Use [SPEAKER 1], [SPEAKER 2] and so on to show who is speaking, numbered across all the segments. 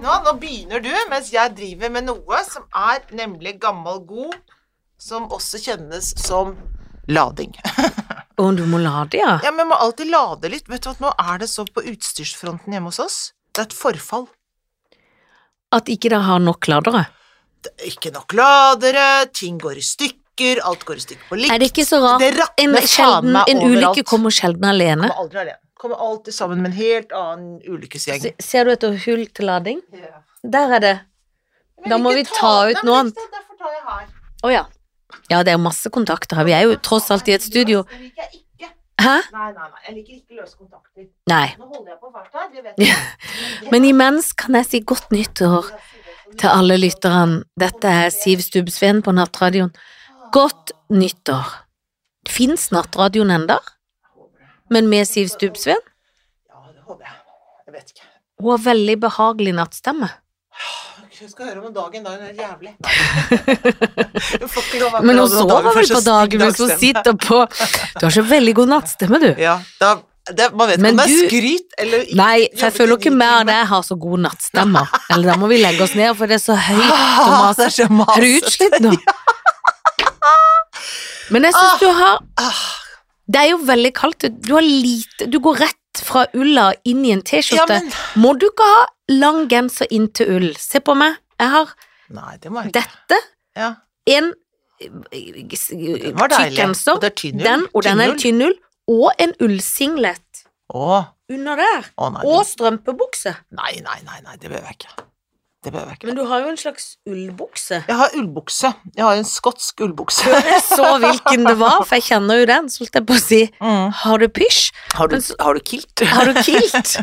[SPEAKER 1] begynner du, mens jeg driver med noe som er nemlig gammel god, som også kjennes som lading.
[SPEAKER 2] Og du må lade, ja.
[SPEAKER 1] Ja, men må alltid lade litt. Vet du at nå er det så på utstyrsfronten hjemme hos oss. Det er et forfall.
[SPEAKER 2] At ikke det har nok ladere.
[SPEAKER 1] Det er ikke nok ladere, ting går i stykker, alt går i stykker på likt.
[SPEAKER 2] Er det ikke så rart?
[SPEAKER 1] Det rakner
[SPEAKER 2] En,
[SPEAKER 1] faen
[SPEAKER 2] sjelden,
[SPEAKER 1] meg
[SPEAKER 2] en
[SPEAKER 1] overalt.
[SPEAKER 2] ulykke kommer sjelden alene.
[SPEAKER 1] Kommer aldri alene. Kommer alltid sammen med en helt annen ulykkesgjeng.
[SPEAKER 2] Se- Ser du etter hull til lading? Der er det.
[SPEAKER 1] Men
[SPEAKER 2] Da må
[SPEAKER 1] ikke
[SPEAKER 2] vi ta ut
[SPEAKER 1] Nei, men
[SPEAKER 2] noe
[SPEAKER 1] ikke
[SPEAKER 2] annet.
[SPEAKER 1] sant, Derfor tar jeg her.
[SPEAKER 2] Å ja. Ja, det er masse kontakter her. Vi er jo tross alt i et studio.
[SPEAKER 1] Det liker jeg ikke.
[SPEAKER 2] Hæ?
[SPEAKER 1] Nei, nei, nei. Jeg liker ikke løse kontakter.
[SPEAKER 2] Nei.
[SPEAKER 1] Nå holder jeg på hvert her, det vet jeg.
[SPEAKER 2] Men imens kan jeg si godt nyttår til alle lytterne. Dette er Siv Stubbsveen på Nattradioen. Godt
[SPEAKER 1] Ah,
[SPEAKER 2] nyttår. Fins Nattradioen enda? Men med Siv Stubbsveen?
[SPEAKER 1] Ja, det håper jeg. Jeg vet ikke.
[SPEAKER 2] Hun har veldig behagelig nattstemme.
[SPEAKER 1] Jeg skal høre om dagen, da er hun jævlig. Du får ikke lov akkurat
[SPEAKER 2] Men
[SPEAKER 1] om
[SPEAKER 2] hun sover
[SPEAKER 1] for
[SPEAKER 2] vel
[SPEAKER 1] så
[SPEAKER 2] på
[SPEAKER 1] stygg
[SPEAKER 2] dagen hvis hun
[SPEAKER 1] dagstemme.
[SPEAKER 2] sitter på Du har så veldig god nattstemme, du.
[SPEAKER 1] Ja, da, det, man vet ikke
[SPEAKER 2] Men
[SPEAKER 1] om det er
[SPEAKER 2] du-
[SPEAKER 1] skryt eller ikke.
[SPEAKER 2] Nei, for jeg
[SPEAKER 1] Jobbet
[SPEAKER 2] føler
[SPEAKER 1] i
[SPEAKER 2] ikke
[SPEAKER 1] ni
[SPEAKER 2] mer av
[SPEAKER 1] timer.
[SPEAKER 2] det jeg har så god nattstemme. Eller da må vi legge oss ned, for det er så høyt og
[SPEAKER 1] Ah, det
[SPEAKER 2] masete.
[SPEAKER 1] er så masete.
[SPEAKER 2] Er du utslitt nå? Men jeg syns du har
[SPEAKER 1] Ah,
[SPEAKER 2] Det er jo veldig kaldt. Du har lite Du går rett fra ulla inn i en
[SPEAKER 1] ja,
[SPEAKER 2] T-skjorte.
[SPEAKER 1] men
[SPEAKER 2] Må du ikke ha lang genser inn til ull? Se på meg. Jeg har
[SPEAKER 1] Nei, det må jeg ikke.
[SPEAKER 2] dette.
[SPEAKER 1] Ja,
[SPEAKER 2] En
[SPEAKER 1] den var
[SPEAKER 2] tykk
[SPEAKER 1] deilig. Og
[SPEAKER 2] genser.
[SPEAKER 1] det er tynnull.
[SPEAKER 2] Den, og den er tynn ull. Og en ullsinglet
[SPEAKER 1] Å,
[SPEAKER 2] under der.
[SPEAKER 1] å nei,
[SPEAKER 2] Og strømpebukse.
[SPEAKER 1] nei, nei, nei, nei, det behøver jeg ikke. Det behøver jeg ikke.
[SPEAKER 2] Men du har jo en slags ullbukse.
[SPEAKER 1] Jeg har ullbukse. Jeg har en skotsk ullbukse.
[SPEAKER 2] Jeg så hvilken det var, for jeg kjenner jo den. Så holdt jeg på å si
[SPEAKER 1] Mm.
[SPEAKER 2] Har du pysj?
[SPEAKER 1] Har, du,
[SPEAKER 2] Men så-
[SPEAKER 1] har du kilt?
[SPEAKER 2] Har du kilt?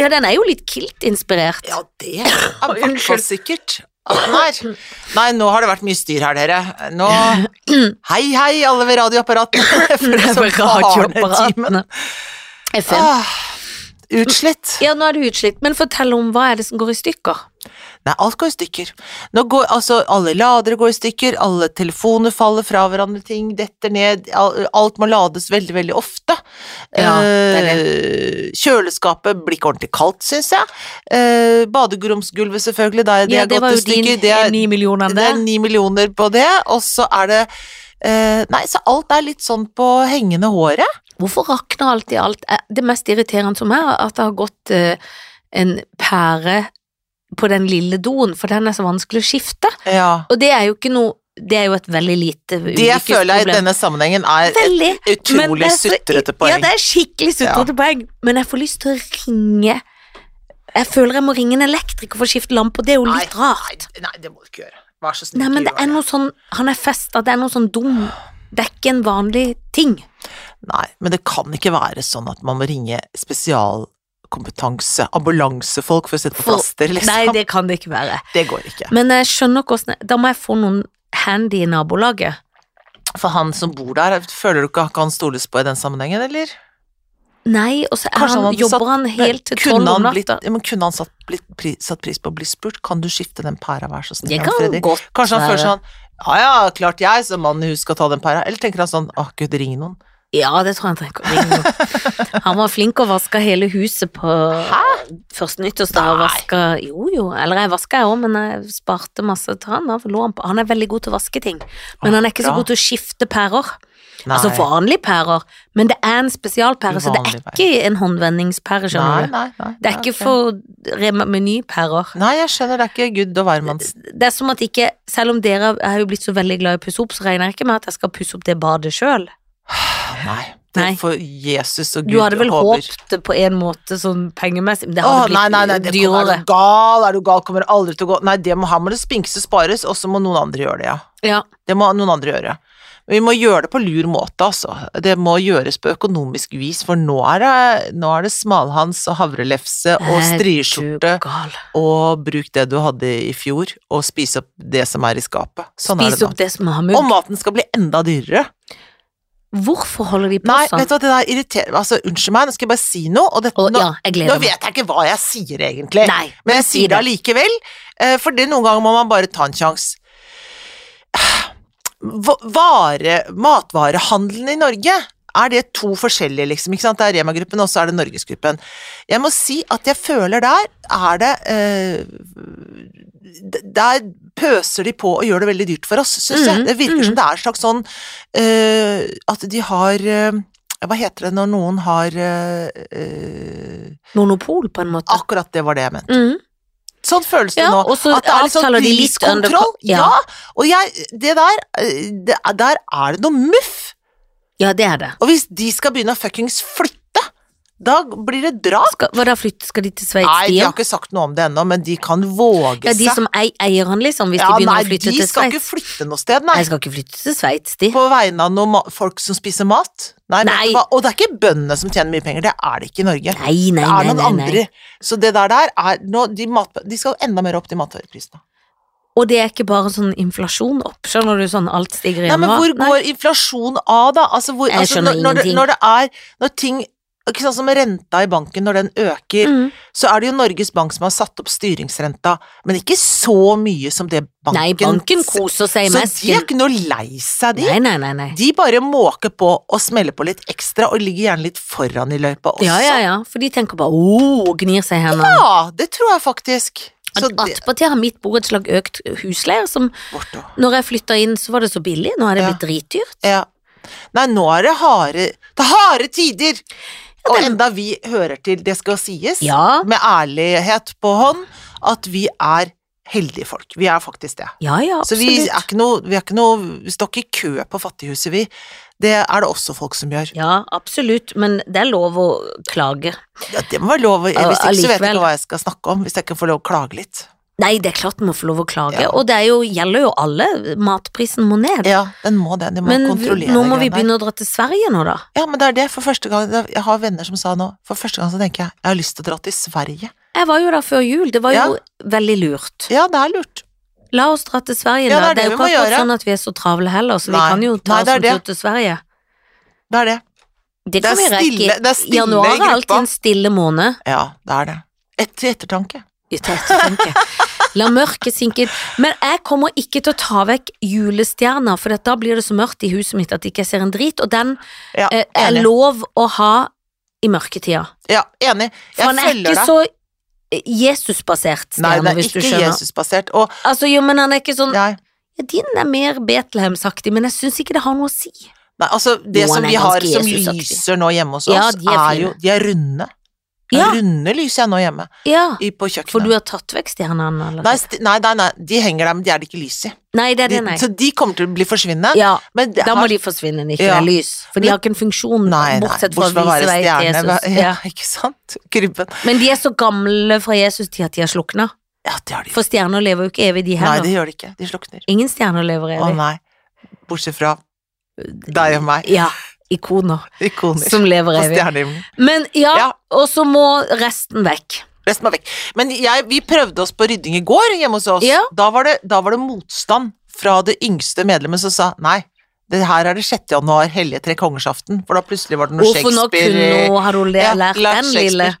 [SPEAKER 2] Ja, den er jo litt kilt-inspirert.
[SPEAKER 1] Ja, det er i hvert fall
[SPEAKER 2] Unnskyld.
[SPEAKER 1] sikkert. Nei. Nei, nå har det vært mye styr her, dere. Nå Hei, hei, alle ved radioapparatet. Jeg føler
[SPEAKER 2] Det
[SPEAKER 1] det
[SPEAKER 2] er
[SPEAKER 1] som
[SPEAKER 2] bare
[SPEAKER 1] barnetimen.
[SPEAKER 2] radioapparatene. FM.
[SPEAKER 1] liksom Ah, Utslett.
[SPEAKER 2] Ja, nå er du utslitt, men fortell om hva er det som går i stykker?
[SPEAKER 1] Nei, alt går i stykker. Nå går, altså, alle ladere går i stykker, alle telefoner faller fra hverandre, ting detter ned, al- alt må lades veldig, veldig ofte.
[SPEAKER 2] Ja, det er
[SPEAKER 1] Eh, Kjøleskapet blir ikke ordentlig kaldt, syns jeg. Eh, Baderomsgulvet, selvfølgelig, der det
[SPEAKER 2] Ja,
[SPEAKER 1] er
[SPEAKER 2] det
[SPEAKER 1] gått
[SPEAKER 2] var
[SPEAKER 1] i
[SPEAKER 2] jo
[SPEAKER 1] stykker.
[SPEAKER 2] din
[SPEAKER 1] Det er,
[SPEAKER 2] ni millioner
[SPEAKER 1] det er
[SPEAKER 2] der.
[SPEAKER 1] ni millioner på det, og så er det eh, Nei, så alt er litt sånn på hengende håret.
[SPEAKER 2] Hvorfor rakner alltid alt? Eh, Det mest irriterende som er, at det har gått eh, en pære på den lille doen, for den er så vanskelig å skifte.
[SPEAKER 1] Ja.
[SPEAKER 2] Og det er jo ikke noe Det er jo et veldig lite
[SPEAKER 1] Det føler jeg i
[SPEAKER 2] ulykkesproblem.
[SPEAKER 1] denne sammenhengen er et
[SPEAKER 2] Veldig. Men det
[SPEAKER 1] utrolig
[SPEAKER 2] er så-
[SPEAKER 1] sutrete poeng.
[SPEAKER 2] Ja, det er skikkelig sutrete poeng, men jeg får lyst til å ringe Jeg føler jeg må ringe en elektriker for å skifte lampe, og det er jo
[SPEAKER 1] Nei,
[SPEAKER 2] litt rart.
[SPEAKER 1] Nei, nei, det må du ikke gjøre. Vær så snill.
[SPEAKER 2] Nei, men
[SPEAKER 1] ikke
[SPEAKER 2] det er
[SPEAKER 1] gjør
[SPEAKER 2] noe sånn Han er festa, det er noe sånn dum Det er ikke en vanlig ting.
[SPEAKER 1] Nei, men det kan ikke være sånn at man må ringe spesialkompetanse, ambulansefolk for å sette på
[SPEAKER 2] For-
[SPEAKER 1] plaster, liksom.
[SPEAKER 2] Nei,
[SPEAKER 1] det...
[SPEAKER 2] det kan det ikke være.
[SPEAKER 1] går ikke.
[SPEAKER 2] Men jeg skjønner ikke åssen Da må jeg få noen handy i nabolaget.
[SPEAKER 1] For han som bor der, føler du ikke at han stoles på i den sammenhengen, eller?
[SPEAKER 2] Nei, og så er
[SPEAKER 1] Kanskje
[SPEAKER 2] han,
[SPEAKER 1] han hadde
[SPEAKER 2] jobber
[SPEAKER 1] satt-
[SPEAKER 2] han helt til
[SPEAKER 1] kunne
[SPEAKER 2] tolv om
[SPEAKER 1] han blitt-
[SPEAKER 2] natta.
[SPEAKER 1] Ja, men kunne han satt, blitt, pri, satt pris på å bli spurt? Kan du skifte den pæra, vær så snill,
[SPEAKER 2] Det
[SPEAKER 1] Jan
[SPEAKER 2] kan
[SPEAKER 1] Fredrik?
[SPEAKER 2] godt eh,
[SPEAKER 1] Kanskje han
[SPEAKER 2] være.
[SPEAKER 1] føler sånn Ja ja, klart jeg som mann i hus skal ta den pæra. Eller tenker han sånn Å, gud, ring noen.
[SPEAKER 2] Ja, det tror jeg han trenger å ringe noen. Han var flink og vaska hele huset på første nyttårsdag. og
[SPEAKER 1] Nei.
[SPEAKER 2] Vaska, jo, jo. Eller jeg vaska jeg òg, men jeg sparte masse til han. Da lå han på. Han er veldig god til å vaske ting, men han er ikke så
[SPEAKER 1] bra.
[SPEAKER 2] god til å skifte pærer.
[SPEAKER 1] Nei.
[SPEAKER 2] Altså vanlige pærer, men det er en spesialpære, så det er
[SPEAKER 1] Uvanlig pære.
[SPEAKER 2] ikke en håndvendingspære,
[SPEAKER 1] nei,
[SPEAKER 2] skjønner du.
[SPEAKER 1] nei, nei.
[SPEAKER 2] Det er ikke
[SPEAKER 1] ok.
[SPEAKER 2] for Rema Meny-pærer.
[SPEAKER 1] Nei, jeg skjønner, det er ikke Gud og hvermannsen.
[SPEAKER 2] Det er som at ikke, selv om dere er jo blitt så veldig glad i å pusse opp, så regner jeg ikke med at jeg skal pusse opp det badet sjøl.
[SPEAKER 1] Nei.
[SPEAKER 2] Eh,
[SPEAKER 1] Det
[SPEAKER 2] Nei.
[SPEAKER 1] får Jesus og
[SPEAKER 2] Du
[SPEAKER 1] Gud
[SPEAKER 2] hadde vel
[SPEAKER 1] håper.
[SPEAKER 2] håpet på en måte sånn pengemessig, men det
[SPEAKER 1] Å,
[SPEAKER 2] hadde blitt
[SPEAKER 1] nei, nei, nei, det kommer, er
[SPEAKER 2] dyrere.
[SPEAKER 1] du gal, er du gal, kommer det aldri til å gå Nei, det må, her må det spinkses spares, og så må noen andre gjøre det, ja.
[SPEAKER 2] Ja.
[SPEAKER 1] Det må noen andre gjøre. Men vi må gjøre det på lur måte, altså. Det må gjøres på økonomisk vis, for nå er det, nå er det smalhans og havrelefse og
[SPEAKER 2] Er
[SPEAKER 1] strieskjorte,
[SPEAKER 2] du gal.
[SPEAKER 1] og bruk det du hadde i fjor, og spis opp det som er i skapet. Sånn
[SPEAKER 2] Spis
[SPEAKER 1] er
[SPEAKER 2] opp
[SPEAKER 1] det nå.
[SPEAKER 2] det som har
[SPEAKER 1] Og
[SPEAKER 2] mugg.
[SPEAKER 1] maten skal bli enda dyrere.
[SPEAKER 2] Hvorfor holder de på
[SPEAKER 1] Nei,
[SPEAKER 2] sånn?
[SPEAKER 1] vet du hva, det der irriterer meg. Altså, unnskyld meg, nå skal jeg bare si noe, og dette,
[SPEAKER 2] Å,
[SPEAKER 1] nå,
[SPEAKER 2] ja, jeg
[SPEAKER 1] nå
[SPEAKER 2] gleder meg.
[SPEAKER 1] vet jeg ikke hva jeg sier egentlig.
[SPEAKER 2] Nei,
[SPEAKER 1] Men jeg
[SPEAKER 2] si
[SPEAKER 1] sier det
[SPEAKER 2] det.
[SPEAKER 1] allikevel, eh, for det noen ganger må man bare ta en sjanse. Vare, matvarehandelen i Norge er det to forskjellige, liksom. ikke sant? Det er Rema-gruppen, og så er det Norgesgruppen. Jeg må si at jeg føler der er det eh, d- Der pøser de på og gjør det veldig dyrt for oss, syns jeg.
[SPEAKER 2] Mhm,
[SPEAKER 1] Det virker som det er en slags sånn eh, At de har eh, Hva heter det når noen har eh, eh,
[SPEAKER 2] Monopol, på en måte.
[SPEAKER 1] Akkurat det var det jeg mente.
[SPEAKER 2] Mm.
[SPEAKER 1] Sånn føles det
[SPEAKER 2] Ja,
[SPEAKER 1] nå.
[SPEAKER 2] og så
[SPEAKER 1] At det er litt sånn
[SPEAKER 2] avtaler de litt under-
[SPEAKER 1] priskontroll. Ja.
[SPEAKER 2] Ja.
[SPEAKER 1] Og jeg, det der eh, det, er- Der er det noe muff!
[SPEAKER 2] Ja, det er det.
[SPEAKER 1] Og hvis de skal begynne å fuckings flytte, da blir det drap!
[SPEAKER 2] Skal, hva da flytte, skal de til Sveits,
[SPEAKER 1] Nei,
[SPEAKER 2] de
[SPEAKER 1] de har
[SPEAKER 2] ja?
[SPEAKER 1] ikke sagt noe om det ennå, men de kan våge
[SPEAKER 2] Ja, de
[SPEAKER 1] seg.
[SPEAKER 2] som ei, eier han, liksom, hvis
[SPEAKER 1] Ja,
[SPEAKER 2] de begynner
[SPEAKER 1] nei,
[SPEAKER 2] å flytte
[SPEAKER 1] de
[SPEAKER 2] til
[SPEAKER 1] skal ikke
[SPEAKER 2] Sveits.
[SPEAKER 1] flytte noe sted, nei.
[SPEAKER 2] Nei, de skal ikke flytte til Sveits, de.
[SPEAKER 1] På vegne av noen ma folk som spiser mat. Nei, vet
[SPEAKER 2] Nei.
[SPEAKER 1] du hva? Og det er ikke bøndene som tjener mye penger, det er det ikke i Norge.
[SPEAKER 2] Nei, nei,
[SPEAKER 1] det
[SPEAKER 2] nei,
[SPEAKER 1] er noen
[SPEAKER 2] nei, nei.
[SPEAKER 1] andre. Så det der der er nå, de, mat, de skal enda mer opp, de matvareprisene.
[SPEAKER 2] Og det er ikke bare sånn inflasjon opp, skjønner du, sånn alt stiger i
[SPEAKER 1] Ja, men
[SPEAKER 2] januar.
[SPEAKER 1] hvor
[SPEAKER 2] Nei.
[SPEAKER 1] går inflasjon av, da? Altså, hvor,
[SPEAKER 2] Jeg
[SPEAKER 1] altså,
[SPEAKER 2] skjønner
[SPEAKER 1] når, når, det,
[SPEAKER 2] ingenting.
[SPEAKER 1] når det er Når ting Ikke sånn som renta i banken, når den øker,
[SPEAKER 2] Mm.
[SPEAKER 1] så er det jo Norges Bank som har satt opp styringsrenta, men ikke så mye som det banken
[SPEAKER 2] Nei, banken koser seg i
[SPEAKER 1] Så de er
[SPEAKER 2] mesken.
[SPEAKER 1] ikke noe lei seg, de.
[SPEAKER 2] Nei, nei, nei, nei.
[SPEAKER 1] De bare måker på og smeller på litt ekstra, og ligger gjerne litt foran i løypa også.
[SPEAKER 2] Ja, ja, ja, for de tenker bare åh, og gnir seg i hendene.
[SPEAKER 1] Ja, det tror jeg faktisk. Så det,
[SPEAKER 2] Attpåtil har mitt borettslag økt husleier, som
[SPEAKER 1] Bortå.
[SPEAKER 2] når jeg flytta inn, så var det så billig, nå er det
[SPEAKER 1] Ja.
[SPEAKER 2] blitt dritdyrt.
[SPEAKER 1] Ja. Nei, nå er det harde Det er harde tider! Og enda vi hører til, det skal sies,
[SPEAKER 2] Ja.
[SPEAKER 1] med ærlighet på hånd, at vi er heldige folk. Vi er faktisk det.
[SPEAKER 2] Ja, ja,
[SPEAKER 1] Så vi er
[SPEAKER 2] absolutt.
[SPEAKER 1] ikke noe Vi, er ikke noe, vi står ikke i kø på fattighuset, vi. Det er det også folk som gjør.
[SPEAKER 2] Ja, absolutt, men det er lov å klage.
[SPEAKER 1] Ja, det må være lov. å-
[SPEAKER 2] Ja,
[SPEAKER 1] Hvis ikke så vet jeg
[SPEAKER 2] allikevel.
[SPEAKER 1] ikke hva jeg skal snakke om, hvis jeg ikke får lov å klage litt.
[SPEAKER 2] Nei, det er klart man må få lov å klage,
[SPEAKER 1] Ja.
[SPEAKER 2] og det er jo, gjelder jo alle, matprisen må ned.
[SPEAKER 1] Ja, den må det. Den må
[SPEAKER 2] Men vi-
[SPEAKER 1] kontrollere
[SPEAKER 2] nå må
[SPEAKER 1] greiene
[SPEAKER 2] vi
[SPEAKER 1] der.
[SPEAKER 2] begynne å dra til Sverige nå, da.
[SPEAKER 1] Ja, men det er det. For første gang Jeg har venner som sa nå For første gang så tenker jeg jeg har lyst til å dra til Sverige.
[SPEAKER 2] Jeg var jo der før jul, det var jo veldig lurt.
[SPEAKER 1] Ja, det er lurt.
[SPEAKER 2] La oss dra til Sverige,
[SPEAKER 1] Ja, det
[SPEAKER 2] da.
[SPEAKER 1] er
[SPEAKER 2] Det er
[SPEAKER 1] det
[SPEAKER 2] jo
[SPEAKER 1] vi må
[SPEAKER 2] ikke akkurat
[SPEAKER 1] gjøre.
[SPEAKER 2] sånn at vi er så travle heller, så vi
[SPEAKER 1] Nei.
[SPEAKER 2] kan jo ta
[SPEAKER 1] Nei, det er
[SPEAKER 2] oss en
[SPEAKER 1] det.
[SPEAKER 2] tur til Sverige.
[SPEAKER 1] Det er det. Det
[SPEAKER 2] Det kan
[SPEAKER 1] er
[SPEAKER 2] vi
[SPEAKER 1] stille-
[SPEAKER 2] rekke.
[SPEAKER 1] det er stille i
[SPEAKER 2] Januar er alltid
[SPEAKER 1] gruppa.
[SPEAKER 2] en stille måned.
[SPEAKER 1] Ja, det er det. Et, til ettertanke.
[SPEAKER 2] I tett tanke. La mørket sinke inn. Men jeg kommer ikke til å ta vekk julestjerna, for da blir det så mørkt i huset mitt at jeg ikke ser en drit, og den
[SPEAKER 1] Ja,
[SPEAKER 2] eh, er
[SPEAKER 1] enig.
[SPEAKER 2] lov å ha i mørketida.
[SPEAKER 1] Ja, enig.
[SPEAKER 2] For
[SPEAKER 1] Jeg
[SPEAKER 2] han er
[SPEAKER 1] følger
[SPEAKER 2] ikke
[SPEAKER 1] deg.
[SPEAKER 2] så eh, Jesusbasert
[SPEAKER 1] Nei, det
[SPEAKER 2] stjerne,
[SPEAKER 1] er
[SPEAKER 2] hvis du
[SPEAKER 1] ikke
[SPEAKER 2] skjønner.
[SPEAKER 1] Jesusbasert. Og
[SPEAKER 2] Altså, jo, men han er ikke sånn
[SPEAKER 1] nei,
[SPEAKER 2] Ja, din er mer Betlehemsaktig, men jeg syns ikke det har noe å si.
[SPEAKER 1] nei, altså det
[SPEAKER 2] Jo, han
[SPEAKER 1] som
[SPEAKER 2] er
[SPEAKER 1] vi har
[SPEAKER 2] ganske
[SPEAKER 1] som
[SPEAKER 2] Jesusaktig.
[SPEAKER 1] lyser nå hjemme hos oss,
[SPEAKER 2] Ja, de
[SPEAKER 1] er,
[SPEAKER 2] er
[SPEAKER 1] jo De er runde. Det er
[SPEAKER 2] Ja.
[SPEAKER 1] Runde lyser jeg nå hjemme,
[SPEAKER 2] Ja,
[SPEAKER 1] i, på
[SPEAKER 2] for
[SPEAKER 1] kjøkkenet.
[SPEAKER 2] du har tatt vekk stjernene, eller?
[SPEAKER 1] Nei, sti- nei, nei, nei, de henger der, men de er det ikke lys i.
[SPEAKER 2] Nei, det er
[SPEAKER 1] De,
[SPEAKER 2] det, nei.
[SPEAKER 1] så de kommer til å bli forsvinne.
[SPEAKER 2] Ja,
[SPEAKER 1] men det
[SPEAKER 2] da må
[SPEAKER 1] har-
[SPEAKER 2] de forsvinne, når det ikke
[SPEAKER 1] Ja.
[SPEAKER 2] er lys. For de har ikke en funksjon,
[SPEAKER 1] Nei, nei,
[SPEAKER 2] bortsett fra
[SPEAKER 1] å
[SPEAKER 2] å
[SPEAKER 1] være
[SPEAKER 2] vise vei til
[SPEAKER 1] stjerne,
[SPEAKER 2] Jesus.
[SPEAKER 1] Ja,
[SPEAKER 2] Ja.
[SPEAKER 1] ikke sant? Krybben.
[SPEAKER 2] Men de er så gamle fra Jesus-tida at de har slukna.
[SPEAKER 1] Ja, det har de.
[SPEAKER 2] For stjerner lever jo ikke evig, de
[SPEAKER 1] Nei,
[SPEAKER 2] heller.
[SPEAKER 1] det gjør de ikke. De slukner.
[SPEAKER 2] Ingen stjerner lever
[SPEAKER 1] Å
[SPEAKER 2] evig.
[SPEAKER 1] nei. Bortsett fra deg og meg.
[SPEAKER 2] Ja, ikoner
[SPEAKER 1] Ikoner.
[SPEAKER 2] som lever
[SPEAKER 1] og
[SPEAKER 2] evig.
[SPEAKER 1] stjernehimmelen.
[SPEAKER 2] Men ja,
[SPEAKER 1] Ja.
[SPEAKER 2] og så må resten vekk.
[SPEAKER 1] Resten er vekk. Men jeg, vi prøvde oss på rydding i går hjemme hos oss.
[SPEAKER 2] Ja.
[SPEAKER 1] Da, var det, da var det motstand fra det yngste medlemmet som sa nei. Det her er det 6. januar, hellige trekkongersaften, for da plutselig var det noe
[SPEAKER 2] Hvorfor nå
[SPEAKER 1] Shakespeare
[SPEAKER 2] kunne
[SPEAKER 1] i-
[SPEAKER 2] hun, har hun le-
[SPEAKER 1] Ja,
[SPEAKER 2] lært
[SPEAKER 1] lært
[SPEAKER 2] den lille?